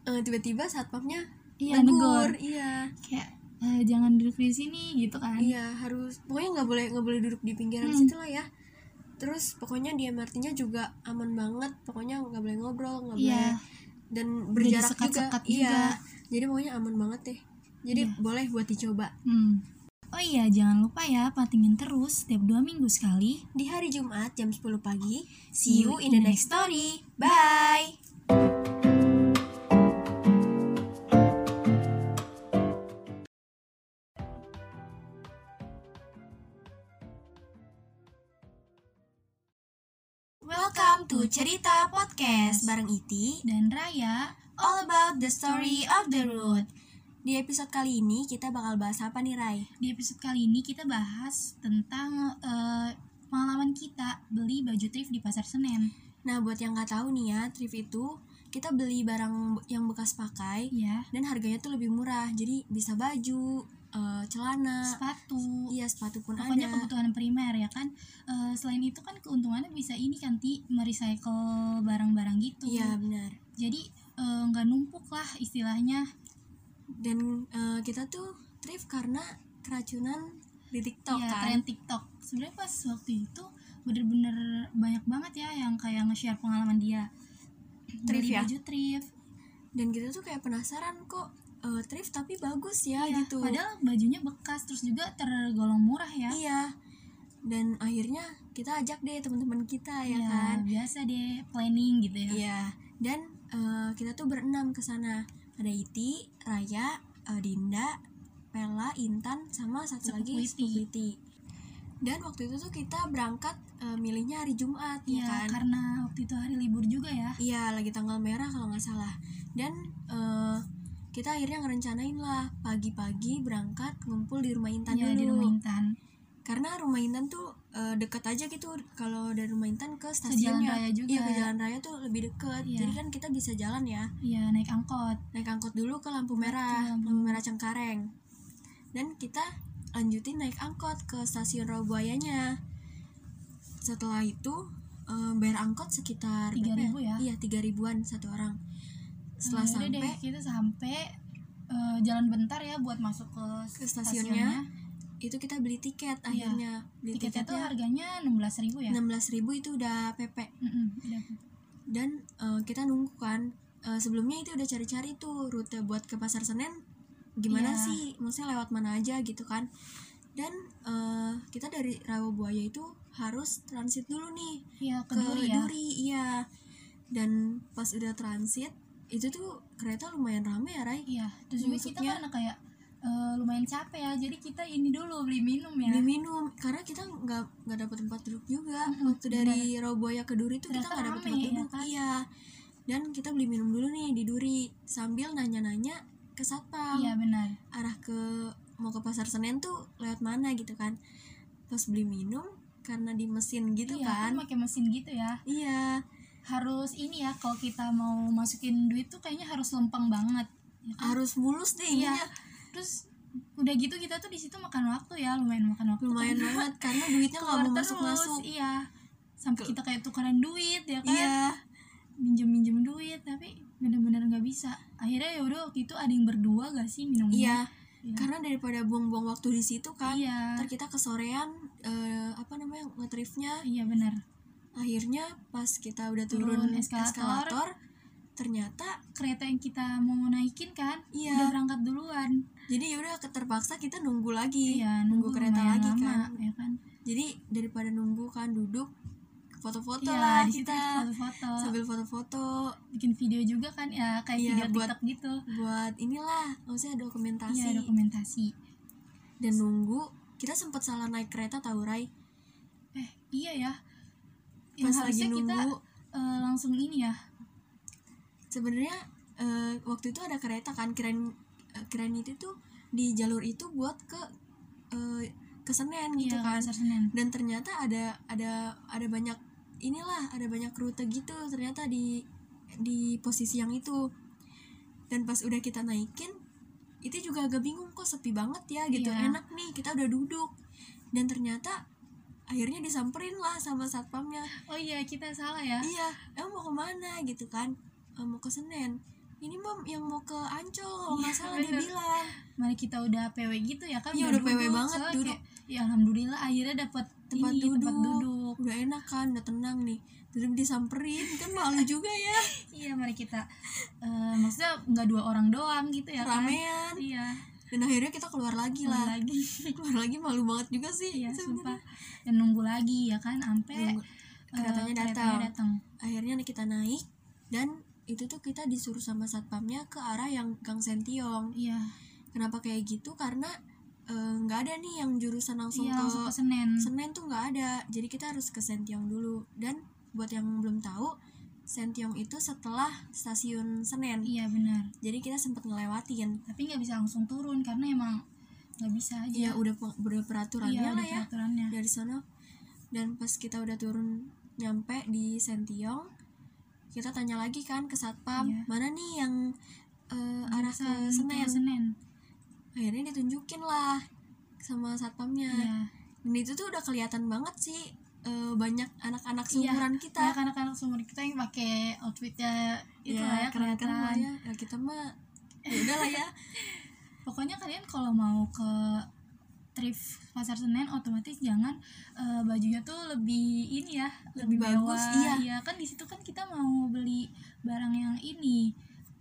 Speaker 1: eh, tiba-tiba satpamnya
Speaker 2: Iya,
Speaker 1: negur.
Speaker 2: negor.
Speaker 1: iya
Speaker 2: Kayak eh, jangan duduk di sini gitu kan.
Speaker 1: iya harus pokoknya nggak boleh nggak boleh duduk di pinggiran
Speaker 2: Hmm.
Speaker 1: situ lah ya terus pokoknya di MRT-nya juga aman banget pokoknya nggak boleh ngobrol nggak
Speaker 2: Iya.
Speaker 1: boleh dan berjarak juga.
Speaker 2: disekat-sekat juga.
Speaker 1: iya jadi pokoknya aman banget deh jadi
Speaker 2: Iya.
Speaker 1: boleh buat dicoba
Speaker 2: Hmm. Oh iya, jangan lupa ya patingin terus setiap dua minggu sekali.
Speaker 1: di hari Jumat jam 10 pagi see you in the next story bye
Speaker 2: Welcome to Cerita Podcast bareng
Speaker 1: Iti
Speaker 2: dan Raya.
Speaker 1: All about the story of the road Di episode kali ini kita bakal bahas apa nih Rai?
Speaker 2: Di episode kali ini kita bahas tentang eh, pengalaman kita beli baju thrift di pasar Senen.
Speaker 1: Nah buat yang nggak tahu nih ya thrift itu kita beli barang yang bekas pakai
Speaker 2: Ya,
Speaker 1: dan harganya tuh lebih murah jadi bisa baju, eh, celana,
Speaker 2: sepatu.
Speaker 1: iya sepatu pun
Speaker 2: Pokoknya
Speaker 1: ada
Speaker 2: kebutuhan primer ya kan. Eh, selain itu kan keuntungannya bisa ini kan ti merecycle barang-barang gitu.
Speaker 1: Iya benar
Speaker 2: Jadi eh, nggak numpuk lah istilahnya.
Speaker 1: dan eh, kita tuh thrift karena keracunan di TikTok
Speaker 2: Iya,
Speaker 1: kan
Speaker 2: tren TikTok. Sebenarnya pas waktu itu bener-bener banyak banget ya yang kayak nge-share pengalaman dia.
Speaker 1: Thrift
Speaker 2: Beli
Speaker 1: ya?
Speaker 2: baju thrift.
Speaker 1: dan kita tuh kayak penasaran kok eh, thrift tapi bagus ya,
Speaker 2: Ya,
Speaker 1: gitu
Speaker 2: Padahal bajunya bekas terus juga tergolong murah ya.
Speaker 1: iya dan akhirnya kita ajak deh teman-teman kita ya,
Speaker 2: Iya,
Speaker 1: kan
Speaker 2: biasa deh planning gitu ya.
Speaker 1: iya dan eh, kita tuh berenam ke sana ada Iti Raya eh, Dinda Pela Intan sama satu lagi
Speaker 2: Sepupu Iti.
Speaker 1: Sepupu Iti dan waktu itu tuh kita berangkat eh, milihnya hari Jumat
Speaker 2: Iya,
Speaker 1: ya kan
Speaker 2: karena waktu itu hari libur juga ya.
Speaker 1: Iya, lagi tanggal merah kalau nggak salah. Dan eh, kita akhirnya ngerencanain lah pagi-pagi berangkat ngumpul di rumah Intan dulu.
Speaker 2: Iya, di rumah Intan.
Speaker 1: Karena rumah Intan tuh eh, deket aja gitu kalau dari rumah Intan ke
Speaker 2: Ke jalan
Speaker 1: stasiunnya.
Speaker 2: raya juga. ya.
Speaker 1: Iya, ke jalan raya tuh lebih deket.
Speaker 2: Iya.
Speaker 1: Jadi kan kita bisa jalan ya.
Speaker 2: Iya, naik angkot.
Speaker 1: Naik angkot dulu ke lampu merah,
Speaker 2: Betul.
Speaker 1: lampu merah Cengkareng. Dan kita lanjutin naik angkot ke stasiun Rawabuayanya. Setelah itu eh, bayar angkot sekitar berapa
Speaker 2: 3000 ya.
Speaker 1: Iya, tiga ribuan satu orang. Setelah
Speaker 2: Nah, yaudah
Speaker 1: sampai
Speaker 2: deh, kita sampai eh, jalan bentar ya buat masuk ke,
Speaker 1: Ke stasiunnya. itu kita beli tiket akhirnya. Beli
Speaker 2: Iya. Tiketnya tuh
Speaker 1: tiketnya
Speaker 2: harganya 16.000 ya.
Speaker 1: enam ribu itu udah PP
Speaker 2: Mm-mm, udah.
Speaker 1: dan eh, kita nunggu kan. Eh, sebelumnya itu udah cari-cari tuh rute buat ke pasar Senen gimana
Speaker 2: Iya.
Speaker 1: sih, maksudnya lewat mana aja gitu kan. Dan eh, kita dari Rawabuaya itu harus transit dulu nih
Speaker 2: Iya, ke
Speaker 1: ke
Speaker 2: Duri ya.
Speaker 1: Duri, iya. Dan pas udah transit itu tuh kereta lumayan rame ya, Rai.
Speaker 2: Iya, terus juga kita
Speaker 1: Masuknya-
Speaker 2: karena kayak eh, lumayan capek ya. Jadi kita ini dulu beli minum ya.
Speaker 1: beli minum karena kita nggak nggak dapat tempat duduk juga waktu dari Roboya ke Duri tuh kita
Speaker 2: Ternyata
Speaker 1: nggak dapat
Speaker 2: rame,
Speaker 1: tempat
Speaker 2: ya
Speaker 1: duduk
Speaker 2: kan?
Speaker 1: iya dan kita beli minum dulu nih di Duri sambil nanya-nanya ke satpam
Speaker 2: Iya, benar.
Speaker 1: arah ke mau ke pasar Senen tuh lewat mana gitu kan pas beli minum karena di mesin gitu
Speaker 2: iya,
Speaker 1: kan
Speaker 2: pakai mesin gitu ya.
Speaker 1: iya
Speaker 2: Harus ini ya kalau kita mau masukin duit tuh kayaknya harus lempeng banget. ya kan?
Speaker 1: harus mulus deh
Speaker 2: Iya.
Speaker 1: ininya.
Speaker 2: Terus udah gitu kita tuh di situ makan waktu ya, lumayan makan waktu.
Speaker 1: lumayan
Speaker 2: Karena
Speaker 1: banget karena duitnya nggak
Speaker 2: keluar
Speaker 1: mau
Speaker 2: terus,
Speaker 1: masuk masuk
Speaker 2: Iya. Sampai kita kayak tukeran duit ya kan.
Speaker 1: iya
Speaker 2: Minjem-minjem duit tapi bener-bener nggak bisa. Akhirnya ya udah waktu itu ada yang berdua gak sih minumnya?
Speaker 1: iya
Speaker 2: Iya.
Speaker 1: karena daripada buang-buang waktu di situ kan
Speaker 2: Iya.
Speaker 1: ntar kita kesorean eh, apa namanya ngetrifnya
Speaker 2: Iya benar.
Speaker 1: akhirnya pas kita udah turun,
Speaker 2: Turun
Speaker 1: eskalator.
Speaker 2: eskalator.
Speaker 1: ternyata
Speaker 2: kereta yang kita mau naikin kan
Speaker 1: Iya.
Speaker 2: udah berangkat duluan
Speaker 1: jadi yaudah keterpaksa kita nunggu lagi
Speaker 2: Iya,
Speaker 1: nunggu, kereta
Speaker 2: lumayan
Speaker 1: lagi
Speaker 2: lama,
Speaker 1: kan
Speaker 2: ya kan
Speaker 1: jadi daripada nunggu kan duduk foto-foto
Speaker 2: Iya,
Speaker 1: lah
Speaker 2: di situ
Speaker 1: kita
Speaker 2: foto-foto
Speaker 1: sambil foto-foto
Speaker 2: bikin video juga kan ya kayak
Speaker 1: Iya,
Speaker 2: video
Speaker 1: buat
Speaker 2: TikTok gitu
Speaker 1: buat inilah maksudnya dokumentasi
Speaker 2: iya dokumentasi
Speaker 1: dan nunggu kita sempat salah naik kereta tahu Rai
Speaker 2: eh iya ya Ya,
Speaker 1: pas lagi
Speaker 2: harusnya kita
Speaker 1: nunggu
Speaker 2: eh, langsung ini ya
Speaker 1: sebenarnya eh, waktu itu ada kereta kan keren keren itu tuh di jalur itu buat ke eh, ke Senen gitu
Speaker 2: iya,
Speaker 1: kan
Speaker 2: pasar Senen
Speaker 1: dan ternyata ada ada ada banyak inilah ada banyak rute gitu ternyata di di posisi yang itu dan pas udah kita naikin itu juga agak bingung kok sepi banget ya gitu
Speaker 2: Iya.
Speaker 1: enak nih kita udah duduk dan ternyata akhirnya disamperin lah sama satpamnya
Speaker 2: oh iya kita salah ya
Speaker 1: iya emang mau kemana gitu kan "Eh, mau ke Senen ini mbak yang mau ke Ancol kalau nggak salah dia
Speaker 2: Iya, bener.
Speaker 1: bilang
Speaker 2: Mana kita udah PW gitu ya kan?
Speaker 1: Iya, udah PW banget,
Speaker 2: soalnya
Speaker 1: duduk. Iya,
Speaker 2: kayak, ya alhamdulillah akhirnya dapat
Speaker 1: tempat,
Speaker 2: ini,
Speaker 1: duduk.
Speaker 2: tempat duduk.
Speaker 1: udah enak kan udah tenang nih terus disamperin kan malu juga ya
Speaker 2: Iya, mari kita eh, maksudnya nggak dua orang doang gitu ya kan?
Speaker 1: ramean
Speaker 2: Iya.
Speaker 1: dan akhirnya kita keluar lagi
Speaker 2: Keluar
Speaker 1: lah
Speaker 2: lagi.
Speaker 1: keluar lagi malu banget juga sih
Speaker 2: Iya,
Speaker 1: sebenarnya.
Speaker 2: sumpah. Dan nunggu lagi ya kan sampai
Speaker 1: Nunggu.
Speaker 2: eh,
Speaker 1: Keretanya datang.
Speaker 2: datang.
Speaker 1: akhirnya kita naik dan itu tuh kita disuruh sama satpamnya ke arah yang Gang Sentiong
Speaker 2: Iya.
Speaker 1: kenapa kayak gitu karena eh, nggak ada nih yang jurusan langsung
Speaker 2: Iya,
Speaker 1: ke
Speaker 2: langsung ke Senen.
Speaker 1: Senen tuh nggak ada jadi kita harus ke Sentiong dulu dan buat yang belum tahu Sentiong itu setelah stasiun Senen
Speaker 2: Iya, benar.
Speaker 1: jadi kita sempat ngelewatin
Speaker 2: Tapi nggak bisa langsung turun karena emang nggak bisa aja.
Speaker 1: ya udah pe- udah peraturannya
Speaker 2: Iya, ada
Speaker 1: lah ya
Speaker 2: peraturannya.
Speaker 1: dari sana dan pas kita udah turun nyampe di Sentiong kita tanya lagi kan ke satpam
Speaker 2: Iya.
Speaker 1: mana nih yang eh, arah ke
Speaker 2: Jurusan
Speaker 1: Senen
Speaker 2: Senen.
Speaker 1: akhirnya ditunjukin lah sama satpamnya
Speaker 2: Iya.
Speaker 1: dan itu tuh udah kelihatan banget sih eh, banyak anak-anak
Speaker 2: Iya,
Speaker 1: seumuran kita
Speaker 2: Ya, anak-anak seumur kita yang pakai outfitnya itu lah
Speaker 1: Iya,
Speaker 2: ya
Speaker 1: keren-keren
Speaker 2: kelihatan.
Speaker 1: lah ya. Ya, kita mah ya udah lah ya
Speaker 2: Pokoknya kalian kalau mau ke thrift pasar Senen otomatis jangan eh, bajunya tuh lebih ini ya,
Speaker 1: Lebih
Speaker 2: lebih,
Speaker 1: bagus,
Speaker 2: mewah.
Speaker 1: iya.
Speaker 2: kan di situ kan kita mau beli barang yang ini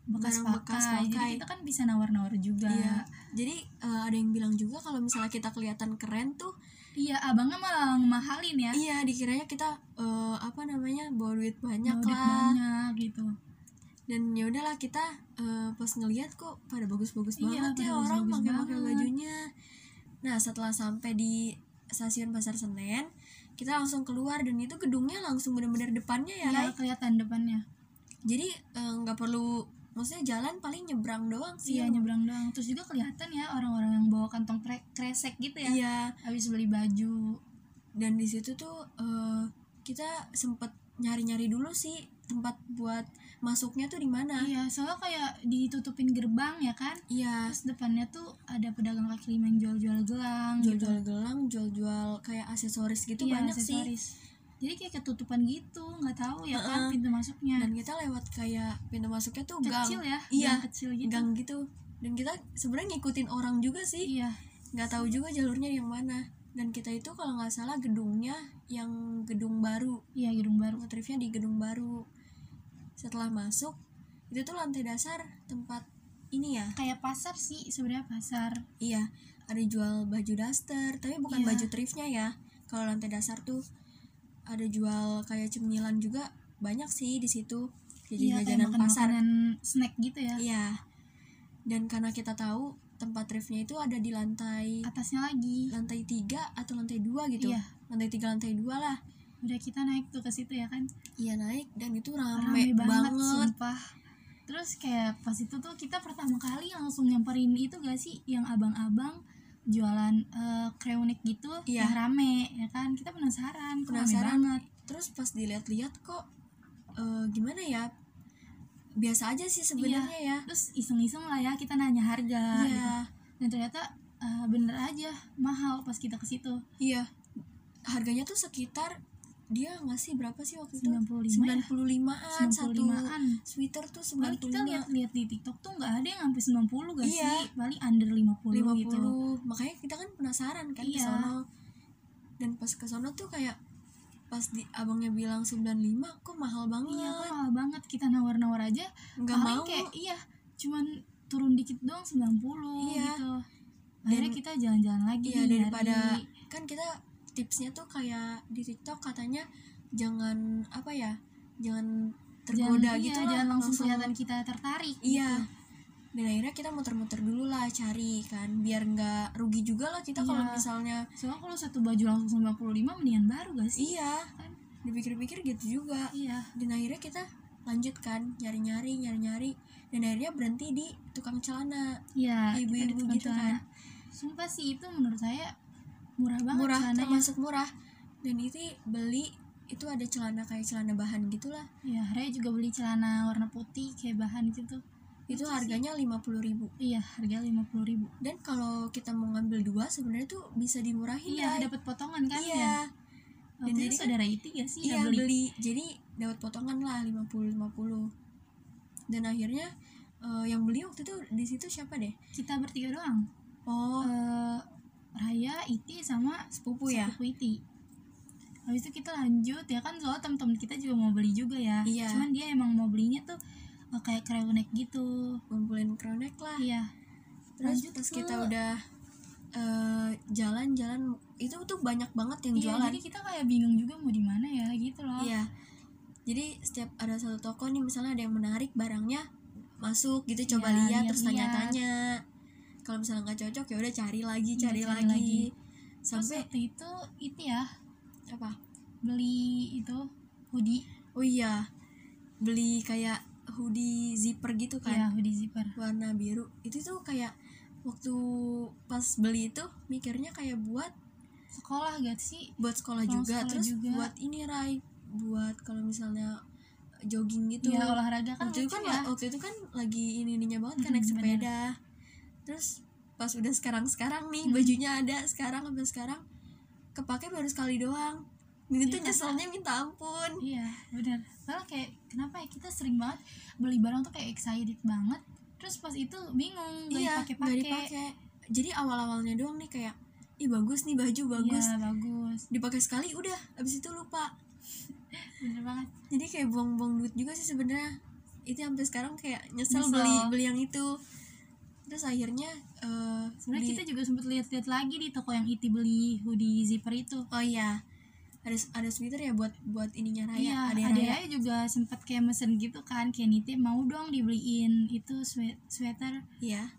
Speaker 2: bekas,
Speaker 1: Barang
Speaker 2: pakai.
Speaker 1: bekas pakai.
Speaker 2: Jadi kita kan bisa nawar-nawar juga.
Speaker 1: Iya. jadi eh, ada yang bilang juga kalau misalnya kita kelihatan keren tuh
Speaker 2: Iya, abangnya malah mahalin ya.
Speaker 1: iya dikiranya kita eh, apa namanya bawa duit banyak
Speaker 2: Bawa duit
Speaker 1: lah
Speaker 2: banyak gitu.
Speaker 1: dan ya udahlah kita eh, pas ngelihat kok pada bagus-bagus
Speaker 2: Iya,
Speaker 1: banget ya
Speaker 2: pada
Speaker 1: orang
Speaker 2: bagus-bagus
Speaker 1: pakai-pakai
Speaker 2: banget.
Speaker 1: bajunya nah setelah sampai di stasiun pasar senen kita langsung keluar dan itu gedungnya langsung benar-benar depannya ya
Speaker 2: Iya,
Speaker 1: Rai
Speaker 2: kelihatan depannya.
Speaker 1: jadi eh, nggak perlu maksudnya jalan paling nyebrang doang sih
Speaker 2: Iya, nyebrang doang. Terus juga kelihatan ya orang-orang yang bawa kantong pre- kresek gitu ya.
Speaker 1: iya
Speaker 2: habis beli baju
Speaker 1: dan di situ tuh eh, kita sempet nyari-nyari dulu sih tempat buat masuknya tuh di mana
Speaker 2: iya soalnya kayak ditutupin gerbang ya kan
Speaker 1: iya
Speaker 2: terus depannya tuh ada pedagang kaki lima yang jual-jual gelang gitu.
Speaker 1: jual-jual gelang jual-jual kayak aksesoris gitu
Speaker 2: Iya,
Speaker 1: banyak sih
Speaker 2: aksesoris. jadi kayak ketutupan gitu nggak tahu ya kan
Speaker 1: Heeh.
Speaker 2: pintu masuknya
Speaker 1: dan kita lewat kayak pintu masuknya tuh gang
Speaker 2: kecil ya
Speaker 1: iya
Speaker 2: gang kecil gitu
Speaker 1: gang gitu dan kita sebenarnya ngikutin orang juga sih
Speaker 2: iya
Speaker 1: nggak tahu juga jalurnya yang mana dan kita itu kalau nggak salah gedungnya yang gedung baru
Speaker 2: iya gedung baru
Speaker 1: ngetripnya di gedung baru setelah masuk itu tuh lantai dasar tempat ini ya
Speaker 2: kayak pasar sih sebenarnya pasar
Speaker 1: iya ada jual baju daster tapi bukan
Speaker 2: Iya.
Speaker 1: baju thriftnya ya kalau lantai dasar tuh ada jual kayak cemilan juga banyak sih di situ jajan
Speaker 2: iya kayak
Speaker 1: jajanan
Speaker 2: makan
Speaker 1: pasar
Speaker 2: makanan snack gitu ya
Speaker 1: Iya. Dan karena kita tahu tempat thriftnya itu ada di lantai
Speaker 2: atasnya lagi
Speaker 1: lantai tiga atau lantai dua gitu.
Speaker 2: Iya.
Speaker 1: Lantai tiga lantai dua lah.
Speaker 2: udah kita naik tuh ke situ ya kan
Speaker 1: Iya naik dan itu rame,
Speaker 2: rame
Speaker 1: banget.
Speaker 2: banget, sumpah terus kayak pas itu tuh kita pertama kali langsung nyamperin itu gak sih yang abang-abang jualan eh, kreunik gitu
Speaker 1: Iya.
Speaker 2: yang rame ya kan kita penasaran kok
Speaker 1: Penasaran.
Speaker 2: rame banget
Speaker 1: Terus pas dilihat-lihat kok eh, gimana ya? Biasa aja sih sebenarnya
Speaker 2: Iya.
Speaker 1: ya.
Speaker 2: terus iseng-iseng lah ya kita nanya harga
Speaker 1: Iya.
Speaker 2: gitu. dan ternyata eh, bener aja mahal pas kita ke situ
Speaker 1: Iya. Harganya tuh sekitar dia ngasih berapa sih waktu itu?
Speaker 2: 95 ya?
Speaker 1: 95-an satu
Speaker 2: 95-an
Speaker 1: sweater tuh
Speaker 2: Padahal
Speaker 1: 95
Speaker 2: Nah, kita lihat-lihat di TikTok tuh nggak ada yang sampai 90 gak
Speaker 1: Iya.
Speaker 2: sih? Paling under
Speaker 1: 50
Speaker 2: 50, gitu.
Speaker 1: makanya kita kan penasaran kan ke
Speaker 2: Iya.
Speaker 1: sono dan pas ke sono tuh kayak pas di abangnya bilang 95 kok mahal
Speaker 2: Iya, kok
Speaker 1: banget ya,
Speaker 2: mahal banget kita nawar-nawar aja
Speaker 1: nggak
Speaker 2: Paling
Speaker 1: mau
Speaker 2: kayak iya cuman turun dikit doang 90
Speaker 1: Iya.
Speaker 2: gitu akhirnya
Speaker 1: Dan-
Speaker 2: kita jalan-jalan lagi
Speaker 1: iya daripada
Speaker 2: nyari.
Speaker 1: kan kita tipsnya tuh kayak di TikTok katanya jangan apa ya jangan tergoda
Speaker 2: jangan,
Speaker 1: gitu
Speaker 2: iya,
Speaker 1: lah,
Speaker 2: jangan langsung kelihatan kita tertarik
Speaker 1: iya
Speaker 2: gitu.
Speaker 1: dan akhirnya kita muter-muter dulu lah cari kan biar nggak rugi juga lah kita kalau
Speaker 2: Iya.
Speaker 1: misalnya
Speaker 2: soalnya kalau satu baju langsung 95 mendingan baru gak sih
Speaker 1: iya
Speaker 2: Kan.
Speaker 1: dipikir-pikir gitu juga
Speaker 2: iya
Speaker 1: dan akhirnya kita lanjut kan nyari-nyari nyari-nyari dan akhirnya berhenti di tukang celana
Speaker 2: iya kita
Speaker 1: Ibu-ibu
Speaker 2: di tukang
Speaker 1: gitu kan.
Speaker 2: celana. sumpah sih itu menurut saya murah banget
Speaker 1: murah
Speaker 2: celananya.
Speaker 1: termasuk murah dan itu beli itu ada celana kayak celana bahan gitulah
Speaker 2: iya Raya juga beli celana warna putih kayak bahan gitu
Speaker 1: itu
Speaker 2: sih.
Speaker 1: harganya lima puluh ribu
Speaker 2: iya harga 50.000 ribu
Speaker 1: dan kalau kita mau ngambil dua sebenarnya tuh bisa dimurahin
Speaker 2: iya
Speaker 1: Dai.
Speaker 2: dapat potongan kan
Speaker 1: iya
Speaker 2: ya
Speaker 1: Dan
Speaker 2: Waktu
Speaker 1: jadi
Speaker 2: itu
Speaker 1: kan-
Speaker 2: saudara Iti gak sih Ya,
Speaker 1: iya
Speaker 2: yang
Speaker 1: beli. jadi dapat potongan lah 50 50 dan akhirnya eh, yang beli waktu itu di situ siapa deh?
Speaker 2: kita bertiga doang
Speaker 1: Oh,
Speaker 2: Eh, Raya Iti sama
Speaker 1: sepupu ya.
Speaker 2: sepupu Iti habis itu kita lanjut ya kan soalnya teman-teman kita juga mau beli juga ya
Speaker 1: Iya.
Speaker 2: cuman dia emang mau belinya tuh eh, kayak krewnek gitu
Speaker 1: Ngumpulin kronek lah.
Speaker 2: iya
Speaker 1: Terus
Speaker 2: Lanjut
Speaker 1: pas
Speaker 2: ke-
Speaker 1: kita udah eh, jalan-jalan itu tuh banyak banget yang
Speaker 2: Iya,
Speaker 1: jualan.
Speaker 2: jadi kita kayak bingung juga mau di mana ya gitu loh
Speaker 1: Iya. Jadi setiap ada satu toko nih misalnya ada yang menarik barangnya masuk gitu coba
Speaker 2: Iya,
Speaker 1: lihat
Speaker 2: lihat-lihat.
Speaker 1: terus tanya-tanya. Kalau misalnya nggak cocok ya udah cari lagi,
Speaker 2: Iya,
Speaker 1: cari,
Speaker 2: cari
Speaker 1: lagi.
Speaker 2: lagi. Terus
Speaker 1: Sampai
Speaker 2: waktu itu itu ya
Speaker 1: apa?
Speaker 2: beli itu hoodie
Speaker 1: Oh iya. Beli kayak hoodie zipper gitu
Speaker 2: ya
Speaker 1: kan
Speaker 2: hoodie zipper
Speaker 1: warna biru. Itu tuh kayak waktu pas beli itu mikirnya kayak buat
Speaker 2: sekolah gak sih
Speaker 1: buat sekolah
Speaker 2: Buat
Speaker 1: juga
Speaker 2: sekolah
Speaker 1: terus
Speaker 2: juga.
Speaker 1: buat ini Rai buat kalau misalnya jogging gitu
Speaker 2: ya olahraga kan
Speaker 1: waktu itu
Speaker 2: lucu
Speaker 1: kan
Speaker 2: ya
Speaker 1: waktu itu kan lagi ini ininya banget kan
Speaker 2: Mm-mm,
Speaker 1: naik
Speaker 2: bener.
Speaker 1: sepeda terus pas udah sekarang sekarang nih
Speaker 2: Mm.
Speaker 1: bajunya ada sekarang sampai sekarang kepake baru sekali doang ini tuh
Speaker 2: Iya,
Speaker 1: nyeselnya minta ampun
Speaker 2: iya benar soalnya kayak kenapa ya kita sering banget beli barang tuh kayak excited banget terus pas itu bingung gak
Speaker 1: iya nggak
Speaker 2: dipakai-pakai
Speaker 1: dipakai jadi awal awalnya doang nih kayak ih bagus nih baju bagus
Speaker 2: Iya, bagus
Speaker 1: dipakai sekali udah abis itu lupa
Speaker 2: bener banget
Speaker 1: jadi kayak buang-buang duit juga sih sebenarnya itu sampai sekarang kayak nyesel,
Speaker 2: Nyesel.
Speaker 1: beli beli yang itu terus akhirnya eh,
Speaker 2: sebenarnya
Speaker 1: beli-
Speaker 2: kita juga sempet lihat-lihat lagi di toko yang iti beli hoodie zipper itu
Speaker 1: oh iya ada ada sweater ya buat buat ininya raya
Speaker 2: Iya,
Speaker 1: ada
Speaker 2: ada
Speaker 1: raya
Speaker 2: Raya juga sempat kayak mesen gitu kan, kayak nitip mau dong dibeliin itu swe- sweater.
Speaker 1: iya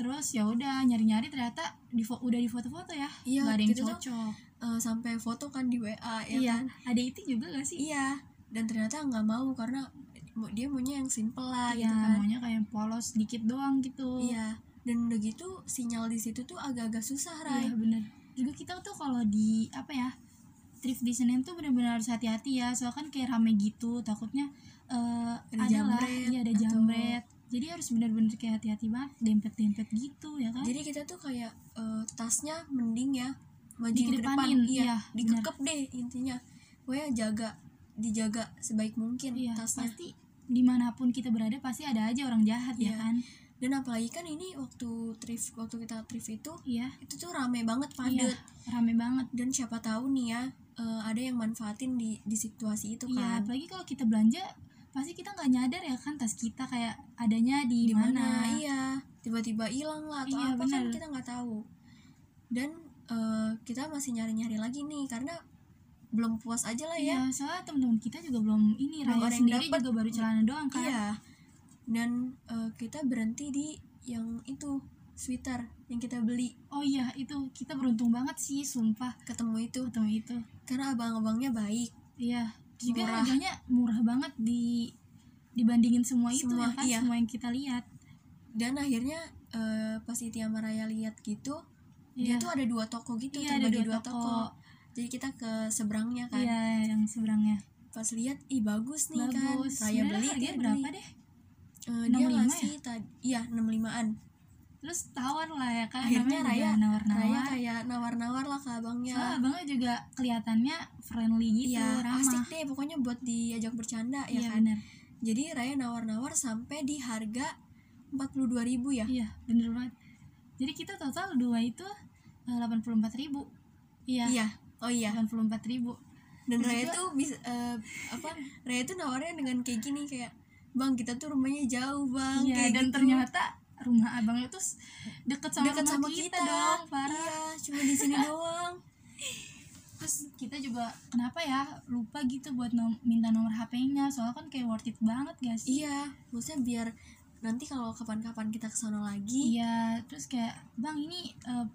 Speaker 2: Terus ya udah nyari-nyari ternyata di fo- udah di foto-foto ya.
Speaker 1: Iya,
Speaker 2: Nggak ada yang
Speaker 1: gitu tuh.
Speaker 2: cocok.
Speaker 1: Eh, sampai foto kan di wa ya
Speaker 2: iya,
Speaker 1: kan
Speaker 2: ada itu juga gak sih?
Speaker 1: iya dan ternyata nggak mau karena mau- dia maunya yang simple lah gitu
Speaker 2: Iya,
Speaker 1: kan
Speaker 2: maunya kayak polos dikit doang gitu.
Speaker 1: iya dan udah gitu sinyal di situ tuh agak-agak susah Ray
Speaker 2: Iya, bener. Juga kita tuh kalau di apa ya? Thrift di Senen tuh benar-benar harus hati-hati ya, soalnya kan kayak rame gitu, takutnya eh
Speaker 1: Ada
Speaker 2: ada lah,
Speaker 1: jambret
Speaker 2: iya ada
Speaker 1: atau-
Speaker 2: jambret. Jadi harus benar-benar kayak hati-hati banget, dempet-dempet gitu ya kan?
Speaker 1: jadi kita tuh kayak eh, tasnya mending ya maju ke depan
Speaker 2: Dikedepanin,
Speaker 1: iya,
Speaker 2: iya,
Speaker 1: dikekep deh intinya pokoknya jaga dijaga sebaik mungkin
Speaker 2: Iya,
Speaker 1: tasnya
Speaker 2: pasti dimanapun kita berada pasti ada aja orang jahat
Speaker 1: Iya.
Speaker 2: ya kan?
Speaker 1: dan apalagi kan ini waktu thrift waktu kita thrift itu
Speaker 2: Iya.
Speaker 1: itu tuh rame banget
Speaker 2: Iya,
Speaker 1: padat
Speaker 2: rame banget.
Speaker 1: dan siapa tahu nih ya eh, ada yang manfaatin di di situasi itu
Speaker 2: Iya,
Speaker 1: kan
Speaker 2: apalagi kalau kita belanja pasti kita nggak nyadar ya kan tas kita kayak adanya di,
Speaker 1: di mana
Speaker 2: mana.
Speaker 1: iya tiba-tiba hilang lah atau
Speaker 2: Iya,
Speaker 1: apa kan
Speaker 2: bener.
Speaker 1: kita nggak tahu dan eh, kita masih nyari-nyari lagi nih karena belum puas aja lah ya
Speaker 2: Iya, soalnya teman-teman kita juga belum ini
Speaker 1: Belum
Speaker 2: raya
Speaker 1: ada yang
Speaker 2: sendiri
Speaker 1: dapet.
Speaker 2: juga baru celana doang kan.
Speaker 1: Iya. Dan eh, kita berhenti di yang itu sweater yang kita beli
Speaker 2: Oh iya, itu kita beruntung banget sih, sumpah
Speaker 1: ketemu itu
Speaker 2: ketemu itu.
Speaker 1: karena abang-abangnya baik.
Speaker 2: Iya, terus juga
Speaker 1: Murah.
Speaker 2: harganya murah banget di dibandingin semua, itu
Speaker 1: Semua,
Speaker 2: ya kan,
Speaker 1: iya.
Speaker 2: semua yang kita lihat.
Speaker 1: Dan akhirnya eh, pas Iti sama Raya lihat gitu, dia
Speaker 2: Iya.
Speaker 1: tuh ada dua toko gitu,
Speaker 2: Iya, ada
Speaker 1: terbagi dua,
Speaker 2: dua
Speaker 1: toko.
Speaker 2: toko.
Speaker 1: Jadi kita ke seberangnya kan.
Speaker 2: Iya, yang seberangnya.
Speaker 1: Pas lihat, ih bagus nih
Speaker 2: Bagus.
Speaker 1: kan. Raya
Speaker 2: Sebenarnya
Speaker 1: beli,
Speaker 2: harganya
Speaker 1: dia
Speaker 2: berapa
Speaker 1: beli.
Speaker 2: deh?
Speaker 1: Eh, dia
Speaker 2: 65 ya?
Speaker 1: ngasih tadi iya 65-an.
Speaker 2: terus tawar lah ya kan
Speaker 1: Akhirnya
Speaker 2: namanya juga
Speaker 1: Raya Raya
Speaker 2: nawar-nawar
Speaker 1: kayak nawar-nawar lah ke abangnya.
Speaker 2: soalnya abangnya juga kelihatannya friendly gitu
Speaker 1: Iya,
Speaker 2: ramah
Speaker 1: asik deh pokoknya buat diajak bercanda ya
Speaker 2: iya
Speaker 1: kan.
Speaker 2: bener
Speaker 1: Jadi Raya nawar-nawar sampai di harga 42.000 ya.
Speaker 2: iya bener banget jadi kita total dua itu eh, delapan puluh empat ribu iya
Speaker 1: Iya. Oh iya.
Speaker 2: delapan puluh empat ribu
Speaker 1: Dan
Speaker 2: Terus
Speaker 1: Raya
Speaker 2: juga-
Speaker 1: tuh bisa eh, apa? Raya tuh nawarnya dengan kayak gini kayak, "Bang, kita tuh rumahnya jauh, Bang."
Speaker 2: iya
Speaker 1: kayak
Speaker 2: dan
Speaker 1: gitu.
Speaker 2: ternyata rumah abangnya tuh s- deket sama
Speaker 1: dekat
Speaker 2: rumah
Speaker 1: sama
Speaker 2: kita,
Speaker 1: kita,
Speaker 2: dong parah
Speaker 1: Iya, cuma di sini doang.
Speaker 2: terus kita juga kenapa ya lupa gitu buat nom- minta nomor HP-nya soalnya kan kayak worth it banget gak sih
Speaker 1: Iya, maksudnya biar nanti kalau kapan-kapan kita ke sana lagi,
Speaker 2: Iya, terus kayak bang ini eh,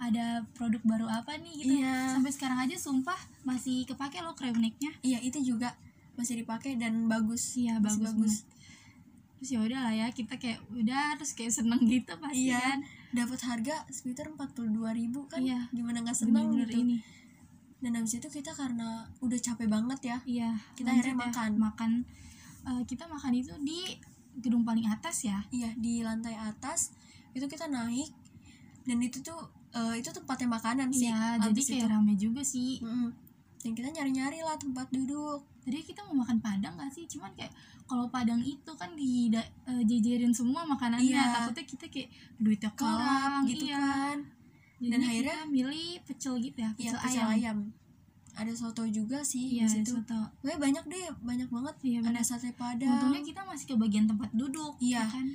Speaker 2: ada produk baru apa nih gitu.
Speaker 1: Iya.
Speaker 2: Sampai sekarang aja sumpah masih kepake loh crewnecknya.
Speaker 1: iya itu juga masih dipakai dan bagus.
Speaker 2: Iya,
Speaker 1: Masih
Speaker 2: bagus, banget. Terus ya udah lah ya kita kayak udah terus kayak seneng gitu pasti
Speaker 1: Iya,
Speaker 2: kan.
Speaker 1: dapat harga sekitar 42.000 kan.
Speaker 2: Iya.
Speaker 1: Gimana nggak senang
Speaker 2: Bener-bener
Speaker 1: gitu.
Speaker 2: ini.
Speaker 1: dan habis itu kita karena udah capek banget ya
Speaker 2: Iya.
Speaker 1: Kita
Speaker 2: lanjut
Speaker 1: akhirnya
Speaker 2: ya.
Speaker 1: makan.
Speaker 2: Makan eh, kita makan itu di gedung paling atas ya.
Speaker 1: iya di lantai atas itu kita naik dan itu tuh eh, itu tempatnya makanan sih
Speaker 2: Iya, jadi
Speaker 1: Habis
Speaker 2: kayak
Speaker 1: itu Hmm.
Speaker 2: rame juga sih.
Speaker 1: Mm-mm. dan kita nyari-nyari lah tempat duduk
Speaker 2: Tadi kita mau makan Padang gak sih? Cuman kayak kalau Padang itu kan di da- eh, jejerin semua makanannya,
Speaker 1: Iya.
Speaker 2: takutnya kita kayak duitnya
Speaker 1: kerap
Speaker 2: kurang
Speaker 1: gitu
Speaker 2: iya.
Speaker 1: kan Dan
Speaker 2: Jadinya
Speaker 1: akhirnya-
Speaker 2: kita milih pecel gitu ya,
Speaker 1: ya
Speaker 2: pecel,
Speaker 1: pecel
Speaker 2: ayam.
Speaker 1: ayam. ada soto juga sih
Speaker 2: Iya,
Speaker 1: di situ
Speaker 2: soto.
Speaker 1: Pokoknya banyak deh banyak banget
Speaker 2: Iya,
Speaker 1: ada
Speaker 2: benar.
Speaker 1: sate
Speaker 2: Untungnya
Speaker 1: padang
Speaker 2: kita masih ke bagian tempat duduk,
Speaker 1: Iya.
Speaker 2: ya kan?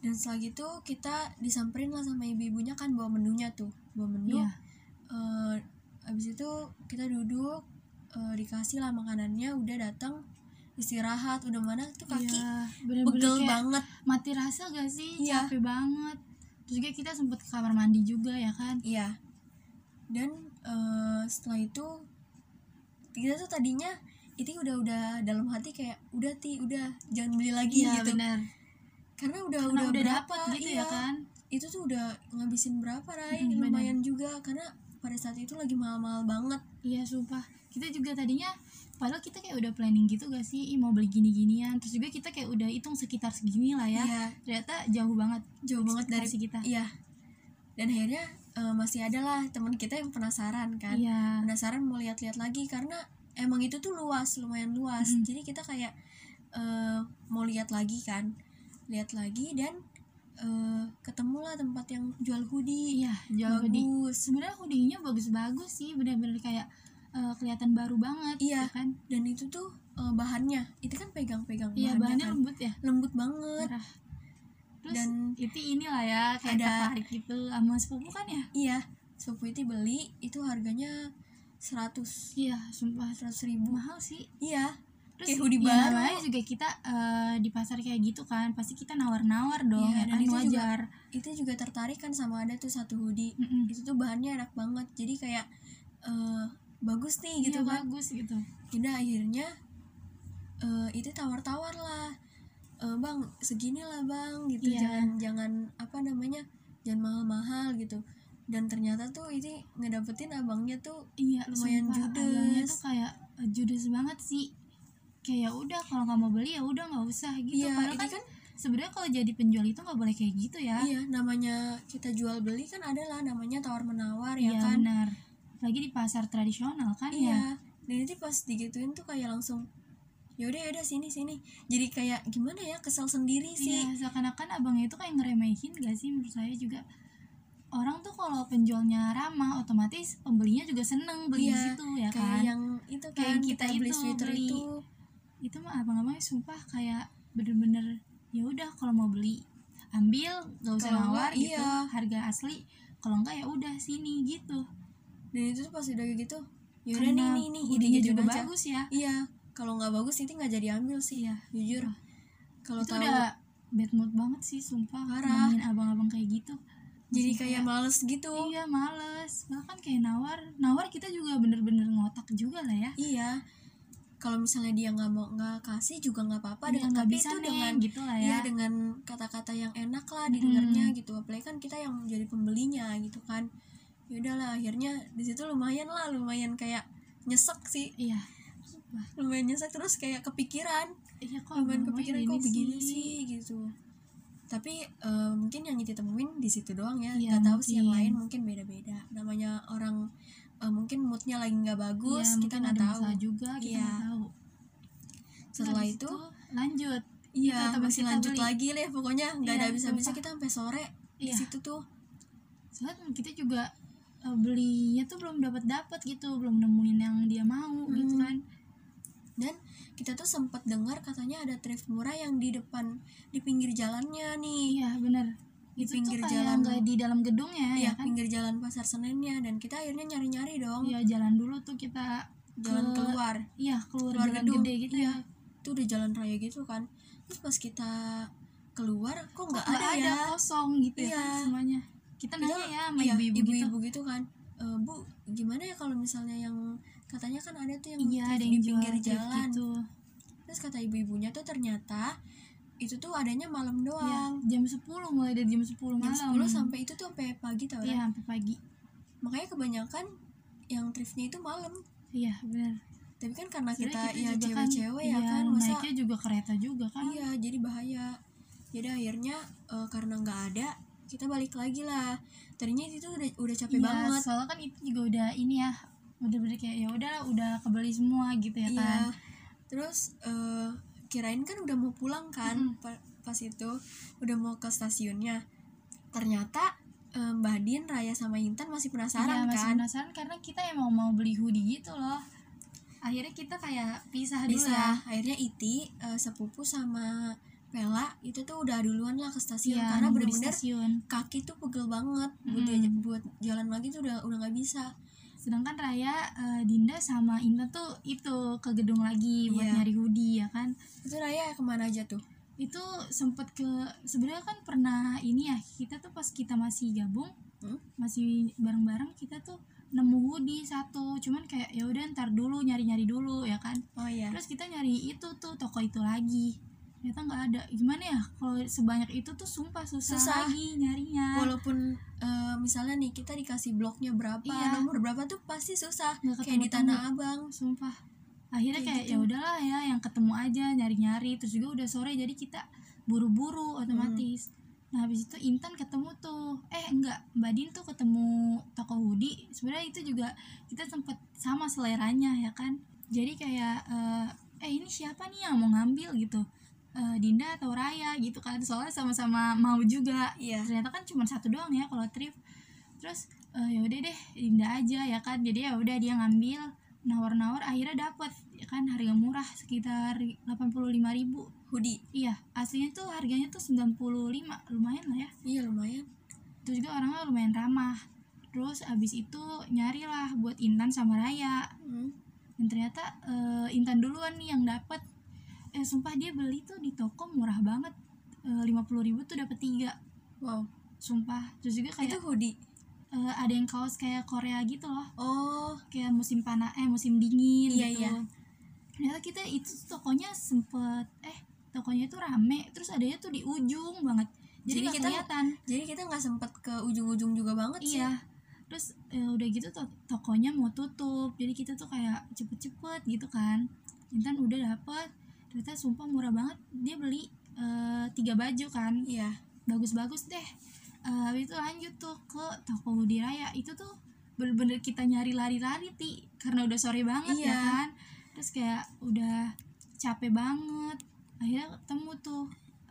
Speaker 1: dan setelah gitu kita disamperin lah sama ibu-ibunya kan bawa menunya tuh bawa menu
Speaker 2: Iya.
Speaker 1: Eh, abis itu kita duduk eh, dikasih lah makanannya udah datang istirahat udah mana tuh kaki
Speaker 2: Iya, bener-bener
Speaker 1: pegel
Speaker 2: kayak
Speaker 1: banget
Speaker 2: Mati rasa gak sih?
Speaker 1: Iya.
Speaker 2: Capek banget. Terus juga kita sempet ke kamar mandi juga ya kan?
Speaker 1: iya dan eh, setelah itu kita tuh tadinya itu udah udah dalam hati kayak udah ti udah jangan beli lagi gitu
Speaker 2: bener.
Speaker 1: karena udah udah
Speaker 2: Karena Iya, Nah, udah
Speaker 1: berapa,
Speaker 2: dapat gitu
Speaker 1: iya.
Speaker 2: ya kan?
Speaker 1: itu tuh udah ngabisin berapa Rai
Speaker 2: Hmm, bener.
Speaker 1: lumayan juga karena pada saat itu lagi mahal-mahal banget
Speaker 2: Iya sumpah Kita juga tadinya Padahal kita kayak udah planning gitu gak sih Ih, Mau beli gini-ginian Terus juga kita kayak udah hitung sekitar segini lah ya
Speaker 1: Iya.
Speaker 2: Ternyata jauh banget
Speaker 1: jauh banget dari
Speaker 2: Ekspektasi kita
Speaker 1: iya dan akhirnya eh, masih ada lah teman kita yang penasaran kan
Speaker 2: Iya
Speaker 1: penasaran mau lihat-lihat lagi karena emang itu tuh luas lumayan luas
Speaker 2: Mm.
Speaker 1: jadi kita kayak eh, mau lihat lagi kan lihat lagi dan eh, ketemulah tempat yang jual hoodie
Speaker 2: Iya jauh di
Speaker 1: bagus
Speaker 2: Sebenarnya hoodie-nya bagus-bagus sih Bener-bener kayak eh, kelihatan baru banget
Speaker 1: Iya.
Speaker 2: ya kan
Speaker 1: dan itu tuh eh, bahannya itu kan pegang-pegang
Speaker 2: Iya bahannya
Speaker 1: kan.
Speaker 2: lembut ya
Speaker 1: lembut banget
Speaker 2: Parah. Terus
Speaker 1: Dan-
Speaker 2: itu inilah ya Kayak
Speaker 1: Ada-
Speaker 2: tertarik gitu sama sepupu kan ya
Speaker 1: Iya, sepupu itu beli itu harganya 100
Speaker 2: Iya sumpah
Speaker 1: 100 ribu.
Speaker 2: Mahal sih
Speaker 1: Iya,
Speaker 2: Terus
Speaker 1: Kayak hoodie
Speaker 2: ya
Speaker 1: baru.
Speaker 2: namanya juga kita eh, di pasar kayak gitu kan pasti kita nawar-nawar dong
Speaker 1: Iya,
Speaker 2: ya
Speaker 1: dan
Speaker 2: kan
Speaker 1: itu juga-
Speaker 2: wajar
Speaker 1: itu juga tertarik kan sama ada tuh satu hoodie.
Speaker 2: Mm-mm.
Speaker 1: Itu tuh bahannya enak banget. Jadi kayak eh, bagus nih gitu
Speaker 2: Iya,
Speaker 1: kan.
Speaker 2: bagus gitu
Speaker 1: Jadi akhirnya eh, itu tawar-tawar lah. Eh, bang, segini lah bang gitu.
Speaker 2: Iya.
Speaker 1: Jangan jangan apa namanya? Jangan mahal-mahal gitu. Dan ternyata tuh ini ngedapetin abangnya tuh
Speaker 2: iya
Speaker 1: Lumayan
Speaker 2: sumpah,
Speaker 1: judes.
Speaker 2: abangnya tuh kayak eh, judes banget sih kayak udah kalau nggak mau beli ya udah nggak usah gitu
Speaker 1: Iya,
Speaker 2: padahal
Speaker 1: ini
Speaker 2: kan,
Speaker 1: kan-
Speaker 2: sebenarnya kalau jadi penjual itu nggak boleh kayak gitu ya
Speaker 1: Iya, namanya kita jual beli kan adalah namanya tawar menawar ya
Speaker 2: Iya,
Speaker 1: kan.
Speaker 2: benar lagi di pasar tradisional kan ya
Speaker 1: Iya. Dan itu pas digituin tuh kayak langsung yaudah yaudah sini sini. Jadi kayak gimana ya kesel sendiri sih.
Speaker 2: Iya, seakan-akan abangnya itu kayak ngeremehin gak sih menurut saya juga orang tuh kalau penjualnya ramah otomatis pembelinya juga seneng beli di
Speaker 1: Iya,
Speaker 2: situ ya
Speaker 1: kayak
Speaker 2: kan
Speaker 1: yang itu
Speaker 2: Kayak
Speaker 1: kan
Speaker 2: yang
Speaker 1: kita,
Speaker 2: kita
Speaker 1: beli
Speaker 2: itu,
Speaker 1: sweater
Speaker 2: beli.
Speaker 1: itu.
Speaker 2: itu mah abang-abangnya sumpah kayak bener-bener ya udah kalau mau beli ambil gak usah
Speaker 1: Kalau
Speaker 2: nawar
Speaker 1: enggak,
Speaker 2: gitu
Speaker 1: iya.
Speaker 2: harga asli kalau enggak ya udah sini gitu
Speaker 1: Dan itu tuh pas udah kayak gitu. Yaudah nih
Speaker 2: Karena
Speaker 1: nih nih
Speaker 2: hoodie-nya
Speaker 1: gitu
Speaker 2: juga
Speaker 1: aja.
Speaker 2: bagus ya
Speaker 1: Iya. Kalau nggak bagus itu nggak jadi ambil sih ya. Jujur. Kalau
Speaker 2: itu
Speaker 1: tahu
Speaker 2: udah bad mood banget sih sumpah
Speaker 1: Parah.
Speaker 2: nemuin abang-abang kayak gitu
Speaker 1: jadi
Speaker 2: Maksudnya
Speaker 1: kayak males gitu.
Speaker 2: Iya males Bahkan kayak nawar Nawar kita juga bener-bener ngotak juga lah ya
Speaker 1: Iya. Kalau misalnya dia nggak mau nggak kasih juga nggak apa-apa
Speaker 2: Iya,
Speaker 1: dengan
Speaker 2: nggak
Speaker 1: tapi
Speaker 2: bisa
Speaker 1: itu
Speaker 2: Neng,
Speaker 1: dengan
Speaker 2: gitu lah ya
Speaker 1: Iya dengan kata-kata yang enak lah
Speaker 2: Hmm.
Speaker 1: didengarnya gitu apalagi kan kita yang jadi pembelinya gitu kan ya udahlah akhirnya di situ lumayan lah lumayan kayak nyesek sih
Speaker 2: Iya
Speaker 1: lumayan nyesek terus kayak kepikiran
Speaker 2: Iya kok Iya,
Speaker 1: lumayan
Speaker 2: abang-abang
Speaker 1: kepikiran kok begini sih gitu tapi eh, mungkin yang ditemuin di situ doang ya
Speaker 2: Iya,
Speaker 1: nggak tahu sih yang
Speaker 2: mungkin.
Speaker 1: lain mungkin beda-beda namanya orang eh, mungkin moodnya lagi nggak
Speaker 2: Iya,
Speaker 1: bagus kita
Speaker 2: mungkin
Speaker 1: nggak
Speaker 2: ada
Speaker 1: tahu
Speaker 2: masalah juga Kita
Speaker 1: Iya.
Speaker 2: nggak tahu
Speaker 1: setelah
Speaker 2: Habis
Speaker 1: itu
Speaker 2: Lanjut
Speaker 1: Iya,
Speaker 2: tetap
Speaker 1: masih
Speaker 2: kita
Speaker 1: lanjut
Speaker 2: beli.
Speaker 1: lagi deh pokoknya nggak
Speaker 2: Iya,
Speaker 1: ada habis-habisnya
Speaker 2: sumpah.
Speaker 1: kita sampai sore di
Speaker 2: Iya.
Speaker 1: situ tuh
Speaker 2: Soalnya kita juga eh, belinya tuh belum dapat dapat gitu belum nemuin yang dia mau
Speaker 1: Hmm.
Speaker 2: gitu kan
Speaker 1: dan kita tuh sempat dengar katanya ada thrift murah yang di depan di pinggir jalannya nih.
Speaker 2: iya bener
Speaker 1: Di
Speaker 2: itu
Speaker 1: pinggir
Speaker 2: tuh kayak
Speaker 1: jalan.
Speaker 2: nggak di dalam gedung ya
Speaker 1: Iya,
Speaker 2: ya kan
Speaker 1: pinggir jalan pasar Senennya dan kita akhirnya nyari-nyari dong
Speaker 2: iya jalan dulu tuh kita
Speaker 1: jalan
Speaker 2: ke-
Speaker 1: keluar.
Speaker 2: iya keluar,
Speaker 1: Keluar
Speaker 2: jalan
Speaker 1: gedung.
Speaker 2: gede gitu
Speaker 1: Iya.
Speaker 2: ya
Speaker 1: Itu udah jalan raya gitu kan. Terus pas kita keluar kok nggak
Speaker 2: Nggak
Speaker 1: ada, ya.
Speaker 2: kosong gitu ya
Speaker 1: Iya.
Speaker 2: kan semuanya kita
Speaker 1: Kita-
Speaker 2: nanya ya sama
Speaker 1: iya,
Speaker 2: ibu-ibu gitu
Speaker 1: ibu-ibu gitu kan. E, bu, gimana ya kalau misalnya yang katanya kan ada tuh yang
Speaker 2: iya
Speaker 1: thrift
Speaker 2: ada yang
Speaker 1: di pinggir
Speaker 2: jual thrift
Speaker 1: jalan.
Speaker 2: gitu
Speaker 1: Terus kata ibu-ibunya tuh ternyata itu tuh adanya malam
Speaker 2: ya,
Speaker 1: doang.
Speaker 2: jam 10 mulai dari jam 10
Speaker 1: Iya. Jam
Speaker 2: malam
Speaker 1: 10 sampai itu tuh sampai pagi tau
Speaker 2: iya sampai pagi
Speaker 1: makanya kebanyakan yang thriftnya itu malam
Speaker 2: iya benar
Speaker 1: tapi kan karena kita,
Speaker 2: Sebenarnya
Speaker 1: ya
Speaker 2: juga kan-
Speaker 1: cewek-cewek ya
Speaker 2: iya,
Speaker 1: kan masa
Speaker 2: naiknya juga kereta juga kan
Speaker 1: iya jadi bahaya jadi akhirnya eh, karena nggak ada kita balik lagi lah tadinya itu udah udah capek
Speaker 2: Iya,
Speaker 1: banget
Speaker 2: soalnya kan itu juga udah ini ya bener-bener kayak ya udah udah kebeli semua gitu ya
Speaker 1: Iya.
Speaker 2: kan
Speaker 1: Terus eh, kirain kan udah mau pulang kan pa- pas itu udah mau ke stasiunnya. Ternyata eh, Mbak Din, Raya sama Intan masih
Speaker 2: Iya,
Speaker 1: penasaran
Speaker 2: masih
Speaker 1: kan.
Speaker 2: penasaran karena kita emang mau beli hoodie gitu loh akhirnya kita kayak pisah dulu ya
Speaker 1: Bisa akhirnya Iti eh, sepupu sama Pela itu tuh udah duluan lah ke stasiun
Speaker 2: Iya,
Speaker 1: karena
Speaker 2: nunggu di
Speaker 1: bener-bener
Speaker 2: stasiun
Speaker 1: kaki tuh pegel banget buat
Speaker 2: Mm.
Speaker 1: diajak buat jalan lagi tuh udah udah nggak bisa.
Speaker 2: sedangkan Raya eh, Dinda sama Indah tuh itu ke gedung lagi buat
Speaker 1: Iya.
Speaker 2: nyari hoodie ya kan
Speaker 1: Itu Raya kemana aja tuh?
Speaker 2: itu sempet ke sebenarnya kan pernah ini ya kita tuh pas kita masih gabung
Speaker 1: Hmm?
Speaker 2: masih bareng-bareng kita tuh nemu hoodie satu cuman kayak ya udah ntar dulu nyari-nyari dulu ya kan
Speaker 1: Oh iya.
Speaker 2: terus kita nyari itu tuh toko itu lagi ternyata nggak ada gimana ya kalau sebanyak itu tuh sumpah susah,
Speaker 1: Susah. Oh,
Speaker 2: lagi nyarinya
Speaker 1: Walaupun eh, misalnya nih kita dikasih bloknya berapa,
Speaker 2: Iya.
Speaker 1: nomor berapa tuh pasti susah.
Speaker 2: Nggak
Speaker 1: Kayak di
Speaker 2: ketemu-temu.
Speaker 1: Tanah Abang.
Speaker 2: sumpah akhirnya
Speaker 1: Kayak
Speaker 2: kayak
Speaker 1: gitu.
Speaker 2: ya udahlah ya yang ketemu aja nyari-nyari terus juga udah sore jadi kita buru-buru otomatis nah habis itu Intan ketemu tuh eh enggak Mbak Din tuh ketemu toko hoodie sebenarnya itu juga kita sempet sama seleranya ya kan jadi kayak eh, eh ini siapa nih yang mau ngambil gitu Eh, Dinda atau Raya gitu kan soalnya sama-sama mau juga
Speaker 1: Iya.
Speaker 2: ternyata kan cuma satu doang ya kalau thrift terus eh, ya udah deh Dinda aja ya kan jadi ya udah dia ngambil nawar-nawar akhirnya dapat ya kan harga murah sekitar 85.000 ribu
Speaker 1: Hoodie.
Speaker 2: iya aslinya tuh harganya tuh 95 lumayan lah ya
Speaker 1: Iya lumayan.
Speaker 2: terus juga orangnya lumayan ramah terus abis itu nyarilah buat Intan sama Raya
Speaker 1: Hmm.
Speaker 2: dan ternyata eh, Intan duluan nih yang dapat eh sumpah dia beli tuh di toko murah banget Eh, lima puluh ribu tuh dapat tiga
Speaker 1: Wow.
Speaker 2: sumpah terus juga
Speaker 1: itu
Speaker 2: kayak
Speaker 1: hoodie.
Speaker 2: eh, ada yang kaos kayak Korea gitu loh
Speaker 1: Oh.
Speaker 2: kayak musim panas eh musim dingin
Speaker 1: Iya,
Speaker 2: gitu
Speaker 1: iya.
Speaker 2: ternyata kita itu tokonya sempet eh tokonya itu rame terus adanya tuh di ujung banget jadi,
Speaker 1: Jadi
Speaker 2: nggak
Speaker 1: kita-
Speaker 2: kelihatan
Speaker 1: Jadi kita nggak sempet ke ujung-ujung juga banget sih.
Speaker 2: iya terus eh, udah gitu to- tokonya mau tutup jadi kita tuh kayak cepet-cepet gitu kan Intan udah dapet ternyata sumpah murah banget dia beli eh, tiga baju kan
Speaker 1: Iya.
Speaker 2: bagus-bagus deh Eh, habis itu lanjut tuh ke toko Budi Raya itu tuh bener-bener kita nyari lari-lari ti karena udah sore banget
Speaker 1: Iya.
Speaker 2: ya kan terus kayak udah capek banget akhirnya ketemu tuh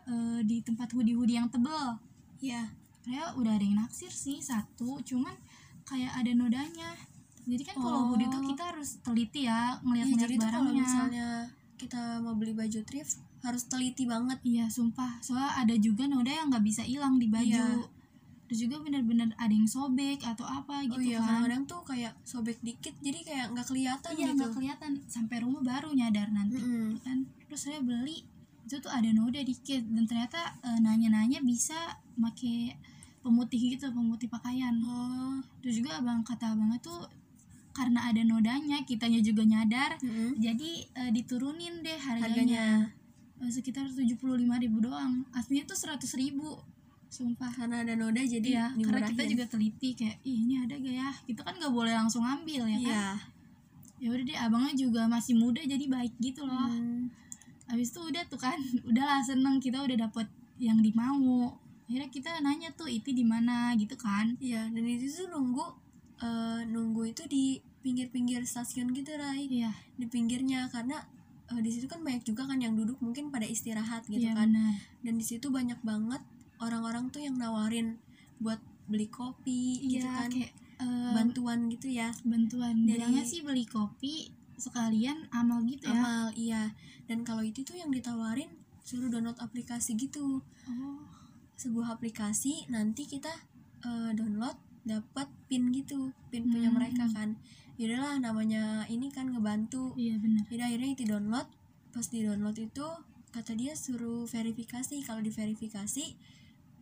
Speaker 2: eh, di tempat hoodie-hoodie yang tebel
Speaker 1: Iya.
Speaker 2: Raya udah ada yang naksir sih satu cuman kayak ada nodanya jadi kan kalau
Speaker 1: Oh.
Speaker 2: hoodie tuh kita harus teliti ya
Speaker 1: Iya,
Speaker 2: ngeliat-ngeliat
Speaker 1: jadi tuh kalau
Speaker 2: barangnya
Speaker 1: misalnya kita mau beli baju thrift harus teliti banget.
Speaker 2: Iya sumpah Soalnya ada juga noda yang nggak bisa hilang di baju
Speaker 1: Iya.
Speaker 2: Terus juga bener-bener ada yang sobek atau apa gitu
Speaker 1: oh iya,
Speaker 2: kan
Speaker 1: kadang-kadang tuh kayak sobek dikit, jadi kayak nggak kelihatan
Speaker 2: Iya
Speaker 1: gitu.
Speaker 2: nggak kelihatan Sampai rumah baru nyadar nanti
Speaker 1: Mm-mm.
Speaker 2: kan Terus saya beli Itu tuh ada noda dikit Dan ternyata eh, nanya-nanya bisa pakai pemutih gitu Pemutih pakaian
Speaker 1: Oh.
Speaker 2: Terus juga abang kata abangnya tuh Karena ada nodanya Kitanya juga nyadar
Speaker 1: Mm-mm.
Speaker 2: Jadi eh, diturunin deh harganya
Speaker 1: Harganya
Speaker 2: Eh, sekitar 75.000 doang. Aslinya tuh 100.000. Sumpah.
Speaker 1: karena ada noda jadi ya.
Speaker 2: Iya, karena
Speaker 1: dimurahin.
Speaker 2: kita juga teliti kayak Ih, ini ada gak ya? Kita kan nggak boleh langsung ambil ya kan.
Speaker 1: Iya.
Speaker 2: Ya udah deh, abangnya juga masih muda jadi baik gitu loh.
Speaker 1: Hmm.
Speaker 2: Habis itu udah tuh kan, udahlah seneng kita udah dapet yang dimau. Akhirnya kita nanya tuh itu di mana gitu kan.
Speaker 1: Iya, dan itu tuh nunggu eh, nunggu itu di pinggir-pinggir stasiun gitu, Rai.
Speaker 2: Iya,
Speaker 1: Di pinggirnya karena eh, di situ kan banyak juga kan yang duduk mungkin pada istirahat gitu
Speaker 2: iya
Speaker 1: kan.
Speaker 2: benar.
Speaker 1: Dan di situ banyak banget orang-orang tuh yang nawarin buat beli kopi
Speaker 2: Iya,
Speaker 1: gitu kan.
Speaker 2: kayak eh,
Speaker 1: Bantuan gitu ya.
Speaker 2: bantuan
Speaker 1: dari-
Speaker 2: bilangnya sih beli kopi sekalian amal gitu ya.
Speaker 1: Amal, iya. Dan kalau itu tuh yang ditawarin suruh download aplikasi gitu.
Speaker 2: Oh,
Speaker 1: Sebuah aplikasi nanti kita eh, download dapat pin gitu, pin punya
Speaker 2: Hmm.
Speaker 1: mereka kan. Yaudahlah namanya ini kan ngebantu.
Speaker 2: iya benar.
Speaker 1: Jadi akhirnya itu download, pas di download itu kata dia suruh verifikasi. Kalau diverifikasi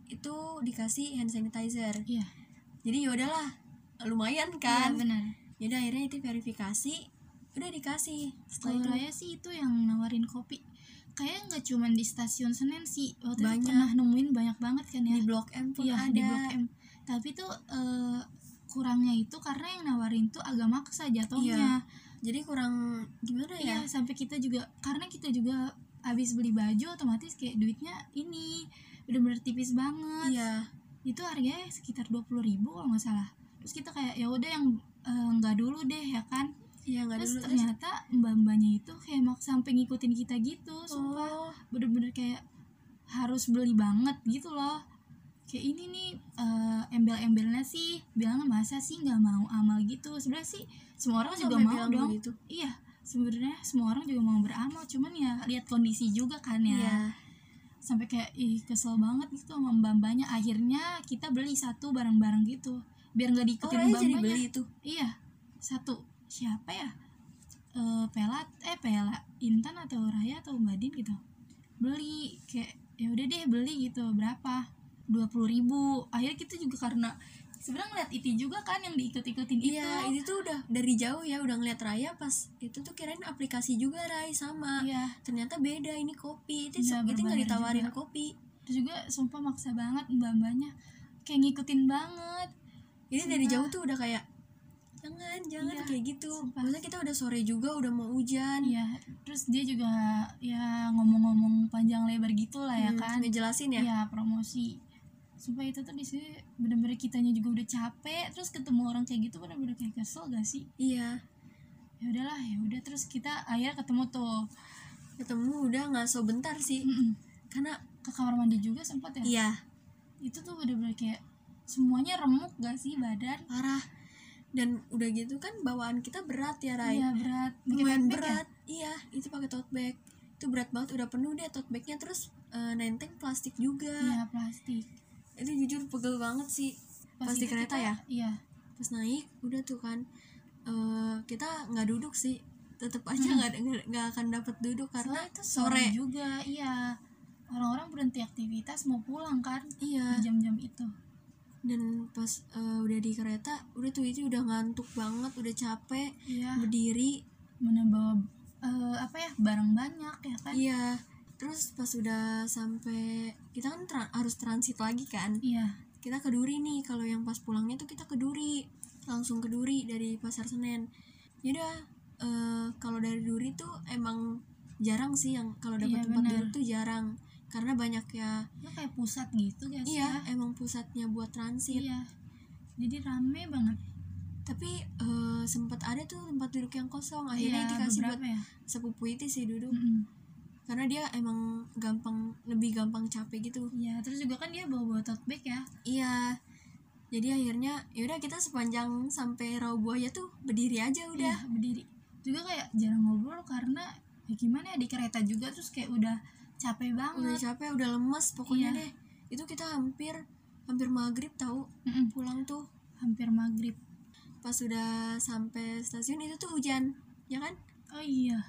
Speaker 1: itu dikasih hand sanitizer.
Speaker 2: Iya.
Speaker 1: Jadi yaudahlah lumayan
Speaker 2: Iya
Speaker 1: kan.
Speaker 2: benar.
Speaker 1: Jadi akhirnya itu verifikasi udah dikasih.
Speaker 2: Kalau
Speaker 1: Setelah itu
Speaker 2: Raya sih itu yang nawarin kopi Kayaknya nggak cuman di stasiun Senen sih Waktu
Speaker 1: Banyak.
Speaker 2: itu pernah nemuin banyak banget kan ya
Speaker 1: di Blok M pun
Speaker 2: Iya,
Speaker 1: ada.
Speaker 2: di Blok M Tapi tuh eh, kurangnya itu karena yang nawarin tuh agak maksa jatuhnya
Speaker 1: Jadi kurang gimana
Speaker 2: Iya,
Speaker 1: ya?
Speaker 2: sampai kita juga Karena kita juga habis beli baju otomatis kayak duitnya ini Udah bener tipis banget
Speaker 1: Iya.
Speaker 2: Itu harganya sekitar 20 ribu kalau nggak salah 20 terus kita kayak ya udah yang eh, nggak dulu deh ya kan
Speaker 1: ya nggak
Speaker 2: terus
Speaker 1: dulu terus
Speaker 2: ternyata mbak-mbaknya itu kayak maksa sampai ngikutin kita gitu sumpah
Speaker 1: oh
Speaker 2: bener-bener kayak harus beli banget gitu loh kayak ini nih eh, embel-embelnya sih bilang masa sih nggak mau amal gitu sebenarnya sih semua orang juga
Speaker 1: sampai
Speaker 2: mau
Speaker 1: bilang
Speaker 2: dong
Speaker 1: begitu?
Speaker 2: iya sebenarnya semua orang juga mau beramal cuman ya lihat kondisi juga kan ya
Speaker 1: Iya.
Speaker 2: sampai kayak ih kesel banget gitu sama mbak-mbaknya akhirnya kita beli satu bareng-bareng gitu biar nggak
Speaker 1: oh
Speaker 2: diikutin
Speaker 1: Raya jadi
Speaker 2: mbak-mbaknya
Speaker 1: beli itu
Speaker 2: iya satu siapa ya Eh Pela eh Pela Intan atau Raya atau Mbak Din gitu beli kayak ya udah deh beli gitu berapa dua puluh ribu akhirnya kita juga karena sebenarnya ngeliat itu juga kan yang diikut-ikutin itu
Speaker 1: Iya, itu tuh udah dari jauh ya, udah ngeliat Raya pas itu tuh kirain aplikasi juga Rai sama.
Speaker 2: Iya.
Speaker 1: Ternyata beda ini kopi. Itu
Speaker 2: Iya,
Speaker 1: itu nggak
Speaker 2: berbayar
Speaker 1: ditawarin
Speaker 2: juga.
Speaker 1: kopi.
Speaker 2: terus juga sumpah maksa banget mbak-mbaknya kayak ngikutin banget
Speaker 1: Jadi dari
Speaker 2: Sumpah.
Speaker 1: jauh tuh udah kayak jangan, jangan
Speaker 2: Iya,
Speaker 1: kayak gitu.
Speaker 2: sumpah.
Speaker 1: Maksudnya kita udah sore juga, udah mau hujan.
Speaker 2: iya terus dia juga ya ngomong-ngomong panjang lebar gitu lah ya
Speaker 1: Hmm,
Speaker 2: kan
Speaker 1: ngejelasin ya.
Speaker 2: Iya promosi supaya itu tuh di sini bener-bener kitanya juga udah capek terus ketemu orang kayak gitu bener-bener kayak kesel gak sih
Speaker 1: Iya.
Speaker 2: ya udahlah ya udah terus kita akhirnya ketemu tuh
Speaker 1: Ketemu udah nggak so bentar sih.
Speaker 2: Mm-mm.
Speaker 1: Karena
Speaker 2: ke kamar mandi juga sempat ya
Speaker 1: iya,
Speaker 2: itu tuh bener-bener kayak semuanya remuk gak sih badan
Speaker 1: parah. Dan udah gitu kan bawaan kita berat ya, Rai.
Speaker 2: iya berat Pakai
Speaker 1: lumayan
Speaker 2: backpack ya?
Speaker 1: berat iya itu pakai tote bag itu berat banget udah penuh deh tote bagnya terus eh, nenteng plastik juga
Speaker 2: iya plastik
Speaker 1: itu jujur pegel banget sih pas, di
Speaker 2: itu
Speaker 1: kereta
Speaker 2: Iya. kita-
Speaker 1: ya
Speaker 2: iya
Speaker 1: pas naik udah tuh kan eh, kita nggak duduk sih tetap aja nggak nggak- nggak akan dapat duduk karena
Speaker 2: Soalnya
Speaker 1: itu
Speaker 2: itu
Speaker 1: sore
Speaker 2: juga iya orang-orang berhenti aktivitas mau pulang kan
Speaker 1: iya
Speaker 2: di jam-jam itu
Speaker 1: dan pas eh, udah di kereta udah tuh itu udah ngantuk banget udah capek
Speaker 2: iya
Speaker 1: berdiri
Speaker 2: mana bawa eh, apa ya barang banyak ya kan
Speaker 1: iya terus pas udah sampai kita kan tra- harus transit lagi kan
Speaker 2: iya
Speaker 1: kita ke Duri nih kalau yang pas pulangnya tuh kita ke Duri langsung ke Duri dari pasar Senen yaudah eh, kalau dari Duri tuh emang jarang sih yang kalau dapat
Speaker 2: Iya,
Speaker 1: tempat
Speaker 2: benar.
Speaker 1: duduk tuh jarang karena banyak ya
Speaker 2: itu kayak pusat gitu guys
Speaker 1: iya
Speaker 2: ya
Speaker 1: emang pusatnya buat transit
Speaker 2: iya jadi rame banget
Speaker 1: tapi eh, sempat ada tuh tempat duduk yang kosong akhirnya
Speaker 2: Iya,
Speaker 1: dikasih buat
Speaker 2: beberapa Hmm. ya
Speaker 1: sepupu itu sih duduk
Speaker 2: Mm-mm.
Speaker 1: karena dia emang gampang lebih gampang capek gitu
Speaker 2: iya terus juga kan dia bawa bawa tote bag ya
Speaker 1: iya jadi akhirnya yaudah kita sepanjang sampai Rawabuaya tuh berdiri aja udah
Speaker 2: Iya, berdiri juga kayak jarang ngobrol karena ya gimana ya di kereta juga terus kayak udah capek
Speaker 1: udah
Speaker 2: Iya, banget
Speaker 1: capek udah lemes pokoknya
Speaker 2: Iya.
Speaker 1: deh itu kita hampir hampir maghrib tahu
Speaker 2: Mm-mm.
Speaker 1: pulang tuh
Speaker 2: hampir maghrib
Speaker 1: pas udah sampai stasiun itu tuh hujan ya kan
Speaker 2: oh iya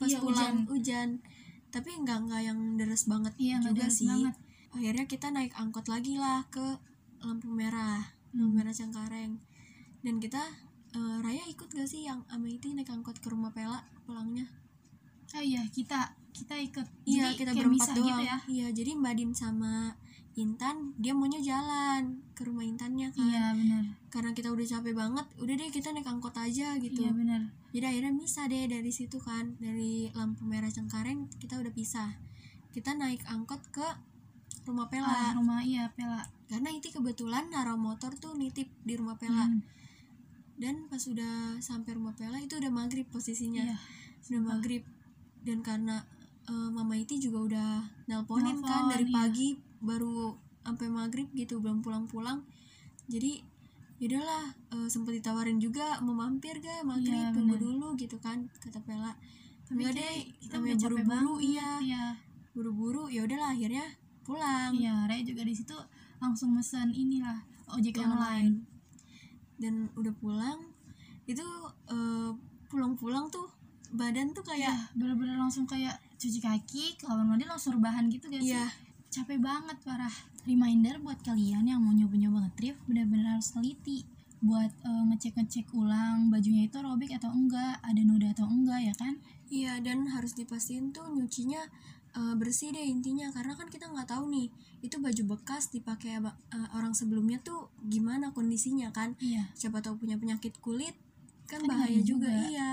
Speaker 1: pas
Speaker 2: Iya,
Speaker 1: pulang hujan. tapi nggak nggak yang deres banget
Speaker 2: Iya, nggak
Speaker 1: juga
Speaker 2: deres
Speaker 1: sih
Speaker 2: banget.
Speaker 1: akhirnya kita naik angkot lagi lah ke lampu merah lampu merah Cengkareng dan kita eh, Raya ikut gak sih yang sama itu naik angkot ke rumah Pela pulangnya
Speaker 2: oh iya kita kita ikut
Speaker 1: Iya
Speaker 2: Jadi
Speaker 1: kita
Speaker 2: kayak
Speaker 1: berempat
Speaker 2: misah
Speaker 1: doang.
Speaker 2: gitu ya
Speaker 1: Iya jadi Mbak Din sama Intan dia maunya jalan ke rumah Intannya kan.
Speaker 2: iya benar
Speaker 1: Karena kita udah capek banget, udah deh kita naik angkot aja gitu.
Speaker 2: iya benar
Speaker 1: Jadi akhirnya bisa deh dari situ kan dari lampu merah Cengkareng kita udah pisah. Kita naik angkot ke rumah
Speaker 2: Arah
Speaker 1: Pela.
Speaker 2: rumah iya pela
Speaker 1: Karena itu kebetulan naro motor tuh nitip di rumah Pela.
Speaker 2: Mm.
Speaker 1: Dan pas udah sampai rumah Pela itu udah maghrib posisinya.
Speaker 2: Iya.
Speaker 1: udah maghrib dan karena eh, mama Iti juga udah nelponin kan
Speaker 2: Nelpon,
Speaker 1: dari
Speaker 2: iya.
Speaker 1: pagi baru sampai maghrib gitu belum pulang-pulang jadi yaudahlah eh, sempet ditawarin juga mau mampir gak maghrib
Speaker 2: Iya,
Speaker 1: tunggu
Speaker 2: bener.
Speaker 1: dulu gitu kan kata Pela
Speaker 2: Tapi
Speaker 1: enggak
Speaker 2: kayak
Speaker 1: deh
Speaker 2: kita
Speaker 1: namanya
Speaker 2: udah capek
Speaker 1: buru-buru
Speaker 2: banget,
Speaker 1: iya
Speaker 2: iya
Speaker 1: buru-buru ya udahlah akhirnya pulang
Speaker 2: iya Raya juga di situ langsung mesen inilah ojek online
Speaker 1: dan udah pulang itu eh, pulang-pulang tuh badan tuh
Speaker 2: ya
Speaker 1: kayak
Speaker 2: bener-bener langsung kayak cuci kaki ke kamar mandi langsung rebahan gitu guys
Speaker 1: Iya.
Speaker 2: capek banget parah reminder buat kalian yang mau nyoba-nyoba ngetrip bener-bener harus teliti buat eh, ngecek-ngecek ulang bajunya itu robek atau enggak ada noda atau enggak ya kan
Speaker 1: Iya dan harus dipastiin tuh nyucinya eh, bersih deh intinya karena kan kita nggak tahu nih itu baju bekas dipakai aba- eh, orang sebelumnya tuh gimana kondisinya kan
Speaker 2: iya
Speaker 1: siapa tahu punya penyakit kulit kan,
Speaker 2: Kan
Speaker 1: bahaya
Speaker 2: bahaya
Speaker 1: juga,
Speaker 2: juga.
Speaker 1: iya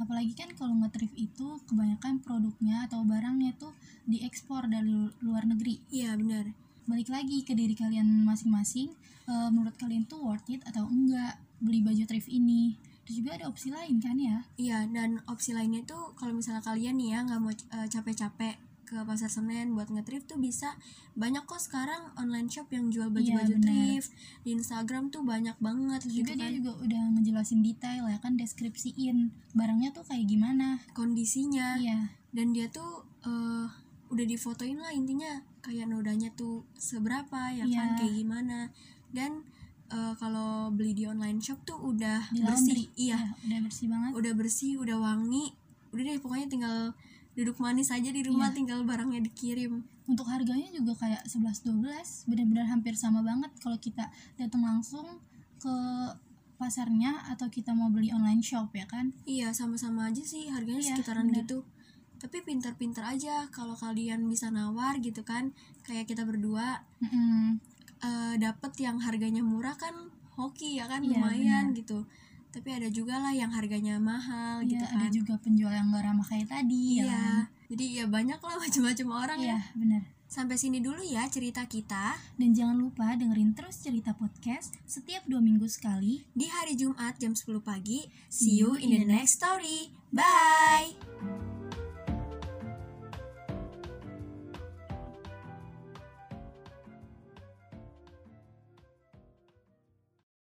Speaker 2: apalagi kan kalau ngetrip itu kebanyakan produknya atau barangnya tuh diekspor dari lu- luar negeri
Speaker 1: iya benar
Speaker 2: balik lagi ke diri kalian masing-masing eh, menurut kalian tuh worth it atau enggak beli baju thrift ini terus juga ada opsi lain kan ya
Speaker 1: Iya, dan opsi lainnya tuh kalau misalnya kalian nih ya nggak mau eh, capek-capek ke pasar Senen buat nge-thrift tuh bisa banyak kok sekarang online shop yang jual baju-baju
Speaker 2: Iya, benar.
Speaker 1: thrift di Instagram tuh banyak banget
Speaker 2: terus
Speaker 1: gitu
Speaker 2: juga dia
Speaker 1: kan
Speaker 2: juga udah ngejelasin detail ya kan deskripsiin barangnya tuh kayak gimana
Speaker 1: kondisinya
Speaker 2: iya
Speaker 1: dan dia tuh eh, udah difotoin lah intinya kayak nodanya tuh seberapa ya kan
Speaker 2: Iya.
Speaker 1: kayak gimana dan eh, kalau beli di online shop tuh udah
Speaker 2: di
Speaker 1: bersih
Speaker 2: laundry
Speaker 1: iya
Speaker 2: Ya, udah bersih banget
Speaker 1: udah bersih udah wangi udah deh pokoknya tinggal duduk manis aja di
Speaker 2: Iya.
Speaker 1: rumah tinggal barangnya dikirim
Speaker 2: untuk harganya juga kayak 11-12 benar-benar hampir sama banget kalau kita datang langsung ke pasarnya atau kita mau beli online shop ya kan
Speaker 1: iya sama-sama aja sih harganya
Speaker 2: Iya,
Speaker 1: sekitaran
Speaker 2: benar.
Speaker 1: gitu tapi pinter-pinter aja kalau kalian bisa nawar gitu kan kayak kita berdua
Speaker 2: Mm-mm.
Speaker 1: eh, dapet yang harganya murah kan hoki ya kan
Speaker 2: Iya,
Speaker 1: lumayan gitu tapi ada juga lah yang harganya mahal
Speaker 2: Iya,
Speaker 1: gitu
Speaker 2: ada
Speaker 1: kan
Speaker 2: juga penjual yang gak ramah kayak tadi ya
Speaker 1: iya
Speaker 2: kan?
Speaker 1: jadi ya banyak lah macam-macam orang
Speaker 2: iya
Speaker 1: ya
Speaker 2: benar
Speaker 1: sampai sini dulu ya cerita kita
Speaker 2: dan jangan lupa dengerin terus cerita podcast setiap dua minggu sekali Iya,
Speaker 1: di hari Jumat jam 10 pagi see you in the next story bye